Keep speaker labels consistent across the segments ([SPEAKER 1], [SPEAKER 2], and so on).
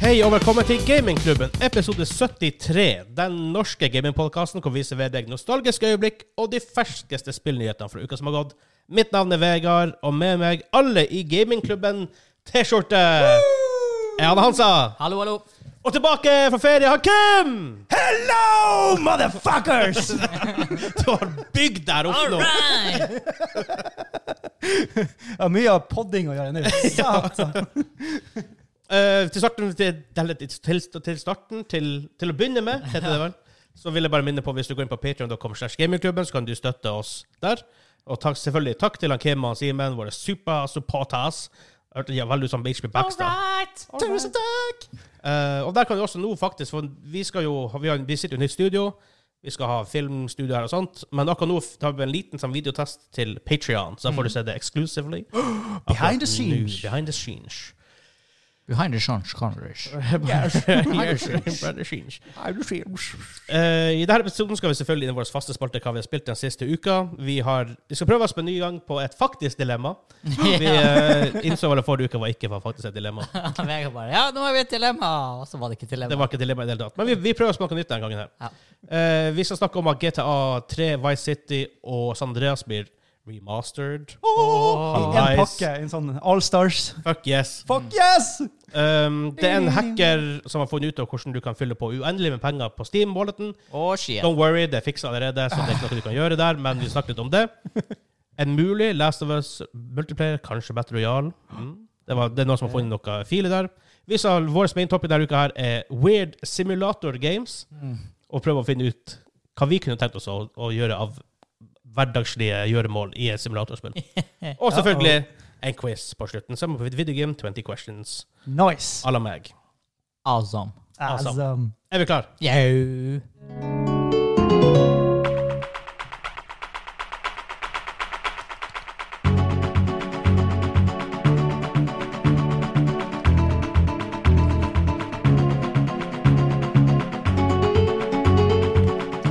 [SPEAKER 1] Hei og velkommen til Gamingklubben, episode 73. Den norske gamingpodkasten hvor vi serverer deg nostalgiske øyeblikk og de ferskeste spillnyhetene fra uka som har gått. Mitt navn er Vegard, og med meg alle i gamingklubben T-skjorte. Jeg er Hansa.
[SPEAKER 2] Hallo, hallo.
[SPEAKER 1] Og tilbake fra ferie har Kim!
[SPEAKER 3] Hello, motherfuckers!
[SPEAKER 1] Du har bygd der opp nå.
[SPEAKER 2] right!
[SPEAKER 3] Jeg har mye av podding å gjøre nå. Satan.
[SPEAKER 1] Eh, til starten, til, eller til, til, til, starten til, til å begynne med, heter det vel. Så vil jeg bare minne på, hvis du går inn på patreon.com slash gamingklubben, så kan du støtte oss der. Og takk, selvfølgelig takk til han Kim og han Simen, våre super supporters. Jeg Hørte de er veldig sånn ut som HB Backstad.
[SPEAKER 2] right!
[SPEAKER 3] Tusen takk!
[SPEAKER 1] Eh, og der kan du også nå faktisk, for vi skal jo, vi, har, vi sitter jo i nytt studio, vi skal ha filmstudio her og sånt, men akkurat nå tar vi en liten sånn videotest til Patreon, så da får du se det exclusively.
[SPEAKER 3] Behind
[SPEAKER 1] Akkurat
[SPEAKER 3] the scenes.
[SPEAKER 1] nå, Behind the scenes.
[SPEAKER 2] Behind the Sean Conneries.
[SPEAKER 1] Behind the scenes. Eh, I denne episoden skal vi selvfølgelig inn i vår faste spalte hva vi har spilt den siste uka. Vi, har, vi skal prøve oss på en ny gang på et faktisk dilemma. Vi eh, innså vel at forrige uke var ikke var faktisk et dilemma.
[SPEAKER 2] Vegard bare Ja, nå har vi et dilemma! Og så var det ikke et dilemma.
[SPEAKER 1] Det var ikke et dilemma i det hele tatt. Men vi, vi prøver oss på noe nytt denne gangen. her.
[SPEAKER 2] Ja.
[SPEAKER 1] Eh, vi skal snakke om at GTA 3, Vice City og San Andreas blir remastered.
[SPEAKER 3] I en
[SPEAKER 1] Nice.
[SPEAKER 3] pakke. En sånn All Stars.
[SPEAKER 1] Fuck yes.
[SPEAKER 3] Fuck yes!
[SPEAKER 1] Um, det er en hacker som har funnet ut av hvordan du kan fylle på uendelig med penger på Steam-walleten.
[SPEAKER 2] Å, Oh, shit.
[SPEAKER 1] Don't worry, det er fiksa allerede, så det er ikke noe du kan gjøre der, men vi snakket litt om det. En mulig Last of Us multiplayer, kanskje Battle Royale. Mm. Det, var, det er noen som har funnet noe file der. Vi sa Vår main topic denne uka her er Weird Simulator Games, og prøve å finne ut hva vi kunne tenkt oss å, å gjøre av hverdagslige gjøremål i et simulatorspill. Og selvfølgelig en quiz på slutten, som på Video Game 20 Questions
[SPEAKER 3] Nice. um,
[SPEAKER 1] à la meg.
[SPEAKER 2] Awesome.
[SPEAKER 1] altså.
[SPEAKER 3] Awesome.
[SPEAKER 1] Er vi klar?
[SPEAKER 2] Yo.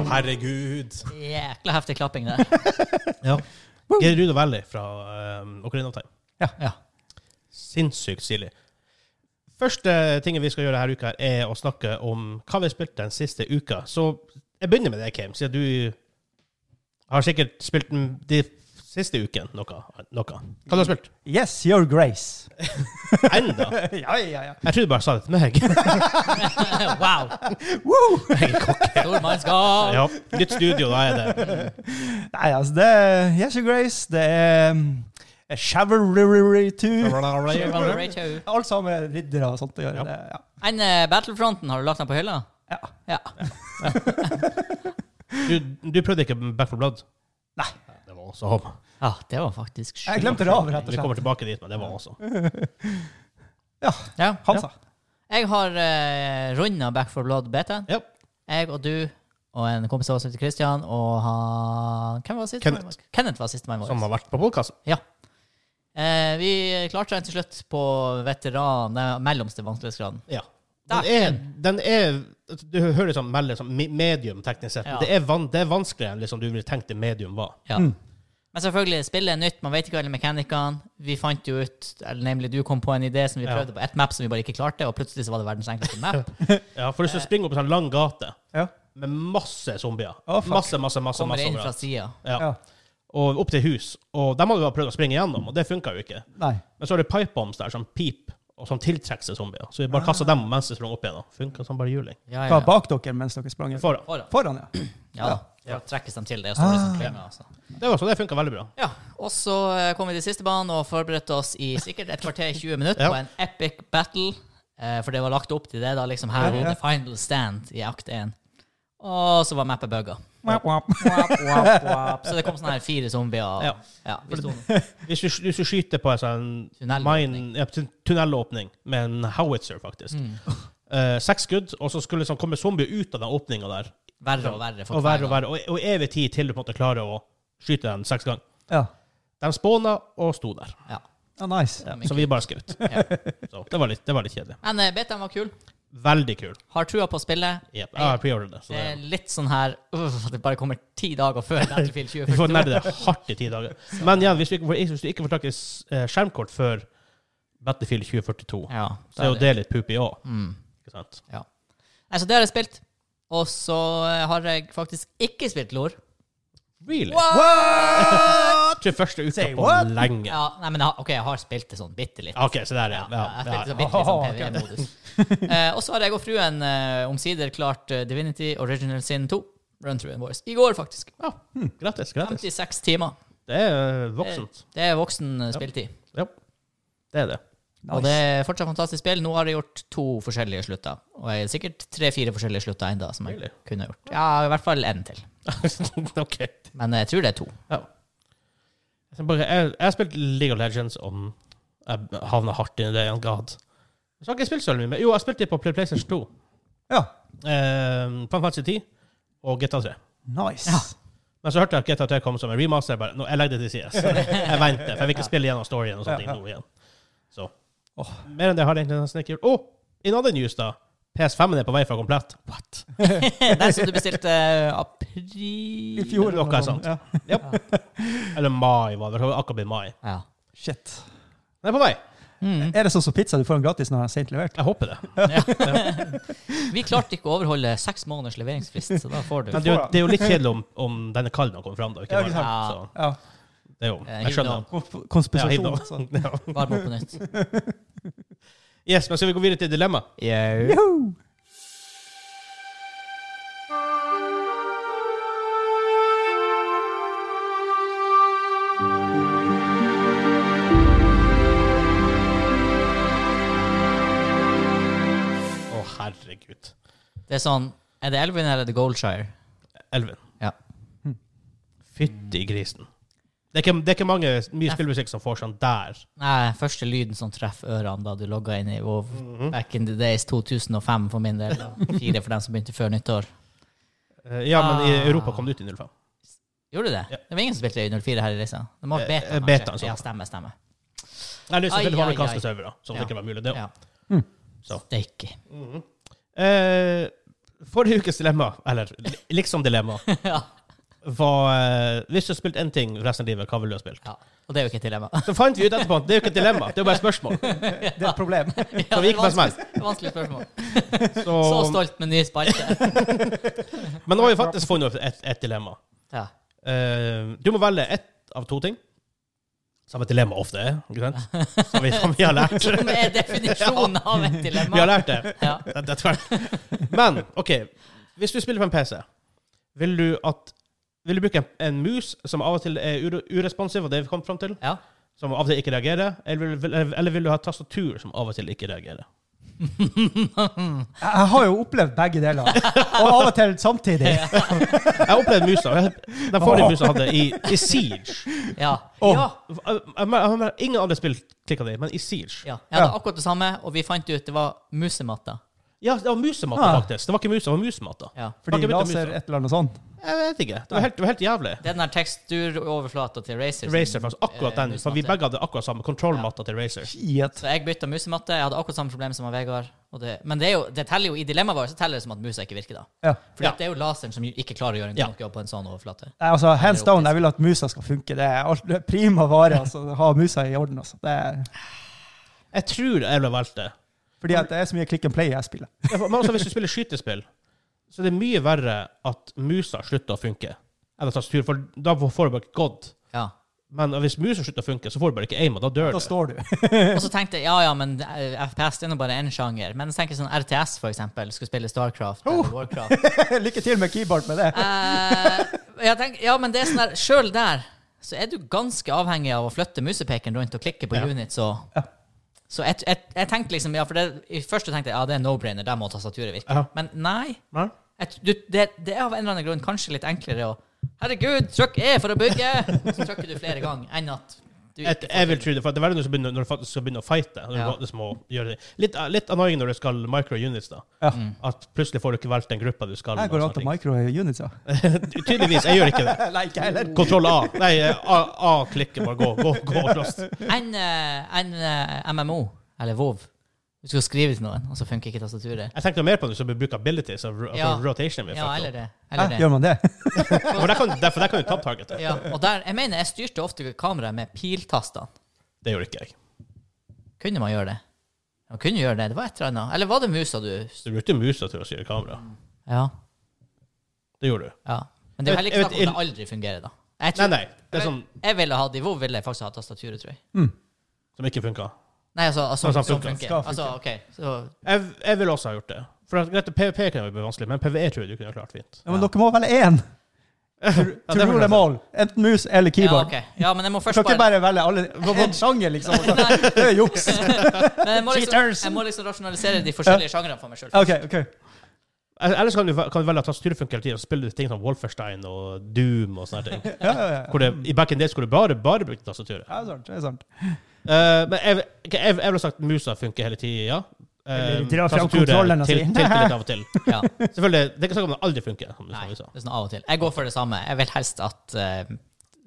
[SPEAKER 1] Herregud.
[SPEAKER 2] Jækla heftig klapping der.
[SPEAKER 1] Ja. Gerudo Valley fra um, Ocarina of Time.
[SPEAKER 2] ja.
[SPEAKER 1] Sinnssykt stilig. Første tingen vi skal gjøre her uka, her, er å snakke om hva vi har spilt den siste uka. Så jeg begynner med deg, Kim, siden du har sikkert spilt den de siste uken noe. noe. Hva du har du spilt?
[SPEAKER 3] Yes, your grace.
[SPEAKER 1] Enda?
[SPEAKER 3] ja, ja, ja.
[SPEAKER 1] Jeg trodde du bare sa det til meg.
[SPEAKER 2] wow!
[SPEAKER 3] Woo!
[SPEAKER 2] Stor mannskap!
[SPEAKER 1] Ja, nytt studio, da er det.
[SPEAKER 3] Nei, altså, det er Yes, your grace. Det er um, a Chivalry 2.
[SPEAKER 2] Chivalry 2.
[SPEAKER 3] Alt sammen med riddere og sånt å
[SPEAKER 1] Ja.
[SPEAKER 3] gjøre. Det, ja.
[SPEAKER 2] En eh, Battlefronten, har du lagt den på hylla?
[SPEAKER 3] Ja.
[SPEAKER 2] Ja.
[SPEAKER 1] Du, du prøvde ikke Back for Blood?
[SPEAKER 3] Nei.
[SPEAKER 1] Det var også håp.
[SPEAKER 2] Ja, Ah, det var faktisk sjukt.
[SPEAKER 3] Jeg glemte det av, rett
[SPEAKER 1] Vi
[SPEAKER 3] og
[SPEAKER 1] kommer
[SPEAKER 3] slett.
[SPEAKER 1] tilbake dit, men det var også.
[SPEAKER 3] Ja,
[SPEAKER 2] Ja.
[SPEAKER 3] Hansa.
[SPEAKER 2] Jeg har uh, runda Back for Blood beta.
[SPEAKER 1] Ja.
[SPEAKER 2] Jeg og du og en kompis av oss heter Christian, og han Hvem var sistemann?
[SPEAKER 1] Kenneth.
[SPEAKER 2] vår? Kenneth var sistemann vår.
[SPEAKER 1] Som har vært på podkasten.
[SPEAKER 2] Ja. Eh, vi klarte den til slutt på veteran, nei, mellomste vanskelighetsgraden.
[SPEAKER 1] Ja. Den er, den er Du hører liksom melde som me- medium, teknisk sett. men
[SPEAKER 2] Ja.
[SPEAKER 1] Det, er van, det er vanskeligere enn liksom du ville tenkt det medium var.
[SPEAKER 2] Ja. Men selvfølgelig, spillet er nytt, man vet ikke alle mekanikkene. Vi fant jo ut, eller nemlig du kom på en idé som vi
[SPEAKER 1] Ja.
[SPEAKER 2] prøvde på ett map som vi bare ikke klarte, og plutselig så var det verdens enkleste map.
[SPEAKER 1] Ja, For hvis du springer opp en sånn lang gate
[SPEAKER 3] Ja.
[SPEAKER 1] med masse zombier
[SPEAKER 3] Å, fuck.
[SPEAKER 1] Masse, masse, masse,
[SPEAKER 2] Kommer
[SPEAKER 1] masse
[SPEAKER 2] inn fra
[SPEAKER 1] zombier.
[SPEAKER 2] sida.
[SPEAKER 1] Ja.
[SPEAKER 3] Ja.
[SPEAKER 1] Og opp til hus. Og dem hadde vi bare prøvd å springe gjennom, og det funka jo ikke.
[SPEAKER 3] Nei.
[SPEAKER 1] Men så er det pipe bombs der som pip, og som tiltrekker seg zombier. Så vi bare kasta dem mens vi sprang opp igjen. Funka som bare juling.
[SPEAKER 2] Ja,
[SPEAKER 3] Hva
[SPEAKER 2] ja.
[SPEAKER 3] bak dere mens dere sprang?
[SPEAKER 1] Foran.
[SPEAKER 2] Foran.
[SPEAKER 3] Foran, ja.
[SPEAKER 2] Ja, da. Da trekkes de til det, og så er det sånn klynge, altså.
[SPEAKER 1] Det var så, det funka veldig bra.
[SPEAKER 2] Ja, og så eh, kom vi til siste banen og forberedte oss i sikkert et kvarter 20 minutter
[SPEAKER 1] Ja.
[SPEAKER 2] på en epic battle. eh, For det var lagt opp til det, da. liksom Her
[SPEAKER 3] Ja,
[SPEAKER 2] er
[SPEAKER 3] ja.
[SPEAKER 2] the final stand i akt 1. Og så var mappet bugga.
[SPEAKER 3] Wap, wap.
[SPEAKER 2] Så det kom sånne her fire zombier. Og,
[SPEAKER 1] Ja.
[SPEAKER 2] ja, vi sto
[SPEAKER 1] Hvis du, hvis du skyter på en sånn
[SPEAKER 2] Tunnelåpning.
[SPEAKER 1] mine, ja, tun- tunnelåpning med en howitzer, faktisk
[SPEAKER 2] Mm.
[SPEAKER 1] Eh, Seks skudd, og så skulle liksom komme zombier ut av den åpninga der.
[SPEAKER 2] verre og verre. for
[SPEAKER 1] Og
[SPEAKER 2] hver
[SPEAKER 1] verre og
[SPEAKER 2] gang.
[SPEAKER 1] verre. Og, og evig tid til du på en måte klarer å skyte den seks ganger.
[SPEAKER 3] Ja.
[SPEAKER 1] De spåna og sto der.
[SPEAKER 2] Ja.
[SPEAKER 3] Ah, nice.
[SPEAKER 2] Ja, men
[SPEAKER 1] Så vi bare skjøt.
[SPEAKER 2] Ja.
[SPEAKER 1] Så det var, litt, det var litt kjedelig.
[SPEAKER 2] Men uh, betaen var kul.
[SPEAKER 1] Veldig kul.
[SPEAKER 2] Har trua på spillet.
[SPEAKER 1] Yep. Jeg har preordret det. Så
[SPEAKER 2] Det
[SPEAKER 1] det,
[SPEAKER 2] er litt sånn her uff, at det bare kommer ti dager før Battlefield
[SPEAKER 1] vi får
[SPEAKER 2] 2042.
[SPEAKER 1] nerde det hardt i ti dager. Men igjen, hvis du ikke, får- hvis du ikke får tak i s- eh, skjermkort før Battlefield 2042,
[SPEAKER 2] Ja,
[SPEAKER 1] så er jo
[SPEAKER 2] det.
[SPEAKER 1] det litt poopy òg.
[SPEAKER 2] Mm.
[SPEAKER 1] Ikke sant?
[SPEAKER 2] Nei, så det har jeg spilt. Og så eh, har jeg faktisk ikke spilt LOR.
[SPEAKER 1] Really?
[SPEAKER 3] What?
[SPEAKER 1] Ikke første uka
[SPEAKER 3] Say
[SPEAKER 1] på
[SPEAKER 3] what?
[SPEAKER 1] lenge. Ah,
[SPEAKER 2] Ja, nei, men jeg har, OK, jeg har spilt det sånn bitte litt.
[SPEAKER 1] OK, så der, ja.
[SPEAKER 2] Ja,
[SPEAKER 1] ja,
[SPEAKER 2] jeg
[SPEAKER 1] ja, ja.
[SPEAKER 2] spilte så bitte litt sånn
[SPEAKER 3] Haha, ok.
[SPEAKER 2] PVE-modus. Eh, og så har jeg og fruen eh, omsider klart eh, Divinity Original Sin 2. Run through and voice. I går, faktisk.
[SPEAKER 1] Ja, Grattis, grattis.
[SPEAKER 2] 56 timer.
[SPEAKER 1] Det er eh, voksent.
[SPEAKER 2] Det er voksen eh, spiltid.
[SPEAKER 1] Ja. Det er det.
[SPEAKER 2] Og det er fortsatt fantastisk spill. Nå har jeg gjort to forskjellige slutter. Og jeg er sikkert tre-fire forskjellige slutter ennå som jeg
[SPEAKER 1] Really?
[SPEAKER 2] kunne ha gjort. Ja, i hvert fall én til.
[SPEAKER 1] OK.
[SPEAKER 2] Men jeg tror det er to.
[SPEAKER 1] Ja. Jeg skal bare- jeg jeg har spilt League of Legends, og jeg havna hardt inn i det. God. Så har jeg ikke spilt så veldig mye mer. Jo, jeg spilte det på Play- PlayStation 2.
[SPEAKER 3] Ja.
[SPEAKER 1] Eh, Final Fantasy 10 og GTA 3.
[SPEAKER 3] Nice.
[SPEAKER 2] Ja.
[SPEAKER 1] Men så hørte jeg at GTA 3 kom som en remaster. Jeg bare, nå, jeg legger det til side. Så Jeg venter, for jeg vil ikke spille gjennom storyen og sånne ting nå igjen. Så. Mer enn det har jeg egentlig nesten ikke gjort. Å, i en annen news, da. PS5-en er på vei fra komplett. What?
[SPEAKER 2] Den som du bestilte eh, april
[SPEAKER 3] I fjor. sånn.
[SPEAKER 1] Noe er sant.
[SPEAKER 3] Ja.
[SPEAKER 1] Eller mai, var det. Det var akkurat blitt mai.
[SPEAKER 2] Ja.
[SPEAKER 3] Shit.
[SPEAKER 1] Den er på vei.
[SPEAKER 2] Mm.
[SPEAKER 3] Er det sånn som pizza? Du får den gratis når den er sent levert.
[SPEAKER 1] Jeg håper det.
[SPEAKER 2] Vi klarte ikke å overholde seks måneders leveringsfrist, så da får du
[SPEAKER 1] Men det er jo, det er jo litt kjedelig om, om denne kalden har kommet fram, da.
[SPEAKER 3] Ja,
[SPEAKER 1] Ikke
[SPEAKER 3] ikke
[SPEAKER 1] mai.
[SPEAKER 2] sant.
[SPEAKER 1] Så
[SPEAKER 3] Ja.
[SPEAKER 1] det er jo
[SPEAKER 2] Eh,
[SPEAKER 1] Jeg skjønner.
[SPEAKER 2] hyggelig.
[SPEAKER 3] Konsp-
[SPEAKER 1] Ja,
[SPEAKER 3] Konspirasjon.
[SPEAKER 1] hiv
[SPEAKER 3] sånn.
[SPEAKER 1] det opp.
[SPEAKER 2] varme opp på nytt.
[SPEAKER 1] Yes, men skal vi gå videre til dilemma?
[SPEAKER 2] Yo.
[SPEAKER 1] Å, herregud.
[SPEAKER 2] Det er sånn Er det Elvin eller er det Goldshire?
[SPEAKER 1] Elven.
[SPEAKER 2] Ja.
[SPEAKER 1] Fytti grisen. Det er ikke, det er ikke mange, mye spillmusikk som får sånn der.
[SPEAKER 2] Nei, første lyden som treffer ørene da du logga inn i WoW
[SPEAKER 3] Mhm.
[SPEAKER 2] back in the days 2005 for min del. Fire for dem som begynte før nyttår.
[SPEAKER 1] Eh, Ja, men i
[SPEAKER 2] Ah.
[SPEAKER 1] Europa kom det ut i 05.
[SPEAKER 2] Gjorde du det?
[SPEAKER 1] Ja.
[SPEAKER 2] Det var ingen som spilte i 04 her i Reisa. Det må
[SPEAKER 1] Eh,
[SPEAKER 2] være beta.
[SPEAKER 1] eh,
[SPEAKER 2] kanskje.
[SPEAKER 1] betaen, sånn.
[SPEAKER 2] ja, stemmer, stemmer.
[SPEAKER 1] Nei, lyst til
[SPEAKER 2] Ai,
[SPEAKER 1] å
[SPEAKER 2] ai,
[SPEAKER 1] amerikanske
[SPEAKER 2] ai.
[SPEAKER 1] servere, sånn at
[SPEAKER 2] Ja.
[SPEAKER 1] det ikke var mulig. Det.
[SPEAKER 2] Ja.
[SPEAKER 3] Mm.
[SPEAKER 1] Så.
[SPEAKER 2] Steike.
[SPEAKER 1] Eh, forrige ukes dilemma, eller li- liksom dilemma,
[SPEAKER 2] ja.
[SPEAKER 1] var eh, Hvis du hadde spilt én ting resten av livet, hva ville du ha spilt?
[SPEAKER 2] ja. Og det er jo ikke et dilemma.
[SPEAKER 1] Så fant vi ut etterpå at det er jo ikke et dilemma, det er jo bare et spørsmål.
[SPEAKER 3] Det er et problem.
[SPEAKER 2] Ja, det
[SPEAKER 1] Så vi gikk med smell.
[SPEAKER 2] vanskelig- Vanskelig spørsmål.
[SPEAKER 1] Så,
[SPEAKER 2] Så stolt med ny spalte.
[SPEAKER 1] men nå har vi faktisk funnet opp et, et dilemma.
[SPEAKER 2] Ja.
[SPEAKER 1] Eh, du må velge ett av to ting. Som et dilemma ofte er, ikke sant? Som vi, som vi har lært.
[SPEAKER 2] Som er definisjonen av et
[SPEAKER 1] Vi har
[SPEAKER 2] dilemma.
[SPEAKER 1] lært det.
[SPEAKER 2] Ja.
[SPEAKER 1] Det- det tror jeg. Men OK, hvis du spiller på en PC, vil du, at, vil du bruke en, en mus som av og til er ure- uresponsiv, og det vi kom fram til,
[SPEAKER 2] ja.
[SPEAKER 1] som av og til ikke reagerer, eller vil, vil- eller vil du ha et tastatur som av og til ikke reagerer?
[SPEAKER 3] Jeg jeg har jo opplevd begge deler. Og av og til samtidig.
[SPEAKER 1] Jeg har opplevd musa. Den forrige musa jeg hadde i, i Siege.
[SPEAKER 2] Ja.
[SPEAKER 3] Åh.
[SPEAKER 2] ja.
[SPEAKER 1] Jeg, jeg, jeg, jeg, ingen andre spill klikka det, men i Siege
[SPEAKER 2] Ja, jeg hadde
[SPEAKER 3] Ja.
[SPEAKER 2] akkurat det samme, og vi fant ut det var musematta.
[SPEAKER 1] Ja, det var musematta,
[SPEAKER 3] Ah.
[SPEAKER 1] faktisk. Det var ikke musa, det var musematta.
[SPEAKER 2] Ja.
[SPEAKER 1] Snakker
[SPEAKER 3] Fordi
[SPEAKER 1] vi til
[SPEAKER 3] laser
[SPEAKER 1] musa?
[SPEAKER 3] et eller annet sånt.
[SPEAKER 1] Jeg vet ikke. Det var helt, det var helt jævlig.
[SPEAKER 2] Det er den der teksturoverflata til Racer.
[SPEAKER 1] Racer, faktisk. altså Akkurat den. For vi begge hadde akkurat samme kontrollmatta til Racer.
[SPEAKER 3] Shit.
[SPEAKER 2] Så jeg bytta musematte. Jeg hadde akkurat samme problem som han Vegard. Og det, men det, er jo, det teller jo i dilemmaet vårt så teller det som at musa ikke virker, da.
[SPEAKER 3] Ja.
[SPEAKER 2] For
[SPEAKER 1] Ja.
[SPEAKER 2] det er jo laseren som ikke klarer å gjøre en
[SPEAKER 1] Ja.
[SPEAKER 2] god nok jobb på en sånn overflate.
[SPEAKER 3] Nei, altså, hands down, jeg vil at musa skal funke. Det er alt, det er prima vare. altså, Ha musa i orden. altså. Det er,
[SPEAKER 1] Jeg tror jeg ville valgt det.
[SPEAKER 3] fordi at det er så mye click and play jeg spiller.
[SPEAKER 1] Ja, for- Men også hvis du spiller skytespill, så er det mye verre at musa slutter å funke enn at tastatur, for da får du bare ikke gått.
[SPEAKER 2] Ja.
[SPEAKER 1] Men hvis musa slutter å funke, så får du bare ikke aima, da dør du.
[SPEAKER 3] Da står du.
[SPEAKER 2] Og så tenkte jeg ja, ja, men eh, FPS det er nå bare én sjanger. Men så tenker jeg sånn RTS, for eksempel, skulle spille Starcraft eller Warcraft.
[SPEAKER 3] Lykke til med keyboard med det.
[SPEAKER 2] Oh. Eh, jeg tenker, ja, men det er sånn der Sjøl der så er du ganske avhengig av å flytte musepekeren rundt og klikke på
[SPEAKER 1] Ja.
[SPEAKER 2] units og Så jeg, jeg, jeg tenkte liksom ja, for det, i Først så tenkte jeg ja, det er no-brainer, der må tastaturet virke.
[SPEAKER 1] Ja.
[SPEAKER 2] Men nei.
[SPEAKER 1] Nei?
[SPEAKER 2] Jeg, tr- du, det, det er av en eller annen grunn kanskje litt enklere å Herregud, trykk E for å bygge! Så trykker du flere ganger enn at du
[SPEAKER 1] Jeg,
[SPEAKER 2] ikke
[SPEAKER 1] jeg vil tro det, for det er verre når du, begynner, når du faktisk skal begynne å fighte. Når
[SPEAKER 2] Ja.
[SPEAKER 1] du faktisk må liksom gjøre det. Litt, litt annoying når du skal micro-units, da.
[SPEAKER 3] Ja.
[SPEAKER 1] At plutselig får du ikke valgt den gruppa du skal.
[SPEAKER 3] Her går det an til
[SPEAKER 1] sånne ting.
[SPEAKER 3] micro-units, ja.
[SPEAKER 1] Tydeligvis. Jeg gjør ikke det.
[SPEAKER 3] Nei, ikke heller.
[SPEAKER 1] Kontroll A. Nei, A-klikker bare gå, gå, gå lost.
[SPEAKER 2] Enn eh, enn, eh, MMO, eller WoW. Du skal skrive til noen, og så funker ikke tastaturet.
[SPEAKER 1] Jeg tenkte mer på det som bruker abilities og ro-
[SPEAKER 2] Ja.
[SPEAKER 1] for rotation.
[SPEAKER 2] Ja, eller det.
[SPEAKER 3] Hæ,
[SPEAKER 2] Eller det.
[SPEAKER 3] gjør man det?
[SPEAKER 1] For der kan, der, for der kan du tappe targetet.
[SPEAKER 2] Ja, og der, jeg mener, jeg styrte ofte kameraet med piltastene.
[SPEAKER 1] Det gjorde ikke jeg.
[SPEAKER 2] Kunne man gjøre det? Han kunne gjøre det. Det var et eller annet. Eller var det musa du
[SPEAKER 1] Så du brukte musa til å styre kamera.
[SPEAKER 2] Ja.
[SPEAKER 1] Det gjorde du.
[SPEAKER 2] ja. Men det er jo heller
[SPEAKER 1] Jeg
[SPEAKER 2] ikke
[SPEAKER 1] vet-
[SPEAKER 2] snakk om det aldri fungerer, da. Jeg,
[SPEAKER 1] Nei,
[SPEAKER 2] tror,
[SPEAKER 1] nei. Det er sånn
[SPEAKER 2] jeg ville hatt i WoW ville jeg faktisk ha tastaturet, tror jeg.
[SPEAKER 1] som ikke funka.
[SPEAKER 2] Nei, altså, altså
[SPEAKER 1] Sånn som
[SPEAKER 2] som
[SPEAKER 1] funker.
[SPEAKER 2] funker.
[SPEAKER 3] Skal funke.
[SPEAKER 2] Altså, OK. Så
[SPEAKER 1] Jeg, jeg ville også ha gjort det. For at, greit, PVP kunne jo bli vanskelig, men PVE tror jeg du kunne ha klart fint.
[SPEAKER 3] Ja, men dere må velge én. Tror-
[SPEAKER 1] Ja, det
[SPEAKER 3] Tror
[SPEAKER 1] får
[SPEAKER 3] du
[SPEAKER 1] jeg
[SPEAKER 3] det er mål? Enten mus eller
[SPEAKER 2] ja,
[SPEAKER 3] keyboard.
[SPEAKER 2] ok. ja, men jeg må
[SPEAKER 3] Du
[SPEAKER 2] først
[SPEAKER 3] kan ikke
[SPEAKER 2] bare
[SPEAKER 3] bare velge alle Hva var sjanger, liksom?
[SPEAKER 2] Nei,
[SPEAKER 3] Det er juks.
[SPEAKER 2] men jeg, må liksom,
[SPEAKER 3] Cheaters.
[SPEAKER 2] jeg må liksom rasjonalisere de forskjellige sjangrene for meg sjøl.
[SPEAKER 3] OK. ok.
[SPEAKER 1] Ellers kan du, kan du velge at tastatur funker hele tiden, og spille ting som Wolferstein og Doom og sånne ting.
[SPEAKER 3] Ja, ja, ja.
[SPEAKER 1] Hvor det, I back in days skulle du bare, bare bruke tastaturet.
[SPEAKER 3] Ja, det er sant. Det er sant.
[SPEAKER 1] Eh, men jeg, jeg, jeg ville sagt musa funker hele tida, ja. Eh,
[SPEAKER 3] Eller dra fram
[SPEAKER 1] tastaturet
[SPEAKER 3] kontrollen og
[SPEAKER 1] til-
[SPEAKER 3] si,
[SPEAKER 1] tilter litt av og til.
[SPEAKER 2] Ja.
[SPEAKER 1] Selvfølgelig, Det er ikke snakk om det aldri funker. Som du sa, vi
[SPEAKER 2] Nei, det
[SPEAKER 1] sa.
[SPEAKER 2] er sånn av og til. Jeg går for det samme. Jeg vil helst at eh,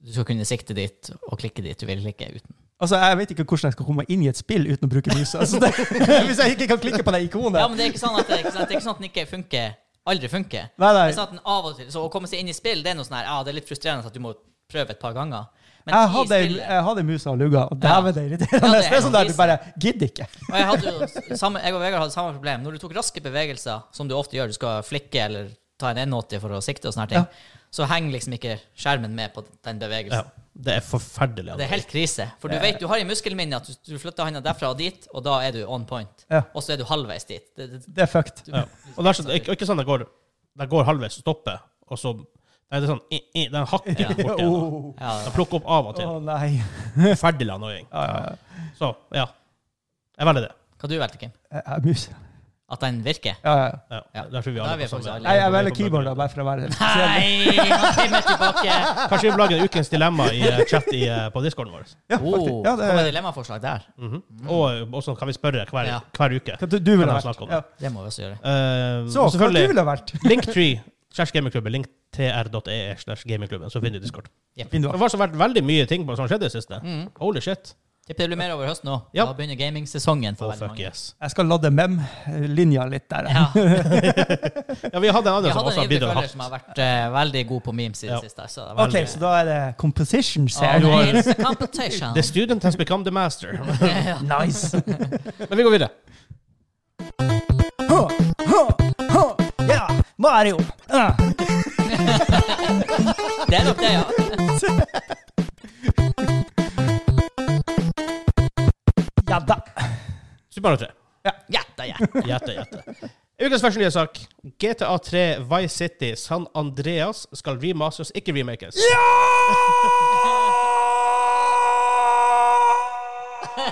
[SPEAKER 2] du skal kunne sikte dit og klikke dit du vil klikke uten.
[SPEAKER 3] Altså, Jeg vet ikke hvordan jeg skal komme inn i et spill uten å bruke musa. Altså, det, hvis jeg ikke kan klikke på det ikonet.
[SPEAKER 2] Ja, men det er ikke sånn at, det, ikke sant? Det er ikke sånn at den ikke funker, aldri funker.
[SPEAKER 3] Nei, nei.
[SPEAKER 2] Det er sånn at den av og til, så Å komme seg inn i spill det er noe sånn her, ja, det er litt frustrerende at du må prøve et par ganger. Men
[SPEAKER 3] Jeg hadde,
[SPEAKER 2] i spillet
[SPEAKER 3] jeg hadde musa og lugga, og
[SPEAKER 2] Ja.
[SPEAKER 3] dæven, det er
[SPEAKER 2] Ja,
[SPEAKER 3] irriterende.
[SPEAKER 2] det er
[SPEAKER 3] det er sånn der du
[SPEAKER 2] krise.
[SPEAKER 3] bare gidder ikke.
[SPEAKER 2] Og jeg, hadde jo s- samme, jeg og Vegard hadde samme problem. Når du tok raske bevegelser, som du ofte gjør, du skal flikke eller ta en 180 for å sikte og sånne her ting, så henger liksom ikke skjermen med på den
[SPEAKER 1] Ja,
[SPEAKER 2] bevegelsen.
[SPEAKER 1] det er forferdelig.
[SPEAKER 2] Det er helt krise. For du vet, du har i muskelminnet at du, du flytter handa derfra og dit, og da er du on point.
[SPEAKER 3] Ja.
[SPEAKER 2] Og så er du halvveis dit. Det, det,
[SPEAKER 3] Det er fucked.
[SPEAKER 1] Ja. Og det er sånn, ikke, ikke sånn det går, det går halvveis, stopper, og så Nei, det er sånn i, i, Den hakker
[SPEAKER 2] Ja.
[SPEAKER 1] borti
[SPEAKER 3] Å
[SPEAKER 1] igjen.
[SPEAKER 2] ja,
[SPEAKER 1] Den plukker opp av og til.
[SPEAKER 3] Oh. å, nei.
[SPEAKER 1] Forferdelig annoying.
[SPEAKER 3] Ja, ja, ja.
[SPEAKER 1] Så, ja. Jeg velger det.
[SPEAKER 2] Hva du valgte Kim?
[SPEAKER 3] Jeg- jeg- Eh, Mus.
[SPEAKER 2] At den virker?
[SPEAKER 3] Ja, ja.
[SPEAKER 1] Ja.
[SPEAKER 2] Ja.
[SPEAKER 1] Der tror vi
[SPEAKER 2] Da
[SPEAKER 1] alle
[SPEAKER 2] er vi
[SPEAKER 1] på samme-
[SPEAKER 2] faktisk alle-
[SPEAKER 3] Nei, jeg velger keyboard, da, bare for å være helt spesiell.
[SPEAKER 2] Nei! Han kommer tilbake.
[SPEAKER 1] Kanskje vi lager en ukens dilemma i eh, chat i, eh, på discorden vår.
[SPEAKER 3] Ja,
[SPEAKER 2] Oh,
[SPEAKER 3] faktisk. ja,
[SPEAKER 2] ja, Kom med
[SPEAKER 3] det,
[SPEAKER 2] dilemmaforslag der.
[SPEAKER 1] Mhm. Og, og så kan vi spørre hver,
[SPEAKER 2] Mm. Ja.
[SPEAKER 1] hver uke.
[SPEAKER 3] hva du, du ville
[SPEAKER 1] Kan
[SPEAKER 3] ha
[SPEAKER 1] jeg snakke om
[SPEAKER 3] vært. Ja.
[SPEAKER 1] det?
[SPEAKER 2] Det må vi også gjøre.
[SPEAKER 1] Eh,
[SPEAKER 3] Så,
[SPEAKER 1] og
[SPEAKER 3] hva du
[SPEAKER 1] selvfølgelig
[SPEAKER 3] ville ha vært?
[SPEAKER 1] Linktree slash gamingklubben. Linktr.ee slash gamingklubben. Så finner du Discord.
[SPEAKER 3] Finn du
[SPEAKER 1] Det
[SPEAKER 3] opp.
[SPEAKER 1] har så vært veldig mye ting på som skjedde i det siste. Holy shit.
[SPEAKER 2] Mm. Det blir mer over høsten nå.
[SPEAKER 1] Ja.
[SPEAKER 2] Da begynner gamingsesongen for
[SPEAKER 1] Oh,
[SPEAKER 2] veldig
[SPEAKER 1] fuck
[SPEAKER 2] mange.
[SPEAKER 1] yes.
[SPEAKER 3] Jeg skal lade mem-linja litt der.
[SPEAKER 2] Ja.
[SPEAKER 1] Ja, vi hadde en annen som
[SPEAKER 2] Jeg hadde
[SPEAKER 1] sånn også
[SPEAKER 2] en
[SPEAKER 1] har bidratt.
[SPEAKER 2] ivrig
[SPEAKER 1] og
[SPEAKER 2] følger
[SPEAKER 1] hatt.
[SPEAKER 2] som har vært eh, veldig god på memes i det
[SPEAKER 1] Ja.
[SPEAKER 2] siste. Så det er
[SPEAKER 3] OK,
[SPEAKER 2] veldig-
[SPEAKER 3] så da er det compositions
[SPEAKER 2] Ah,
[SPEAKER 3] her.
[SPEAKER 1] du har-
[SPEAKER 2] it's a competition.
[SPEAKER 1] The student has become the master.
[SPEAKER 2] Ja.
[SPEAKER 3] Nice.
[SPEAKER 1] Men vi går videre.
[SPEAKER 3] Ha, ha, ha. Ja, Mario. Ah.
[SPEAKER 2] Det er nok det, ja.
[SPEAKER 3] Ja da.
[SPEAKER 1] Super Mario 3.
[SPEAKER 2] Gjetta, gjetta.
[SPEAKER 1] Gjette, gjette. Ukens første nye sak. GTA 3 Vice City San Andreas skal remasters, ikke remakes.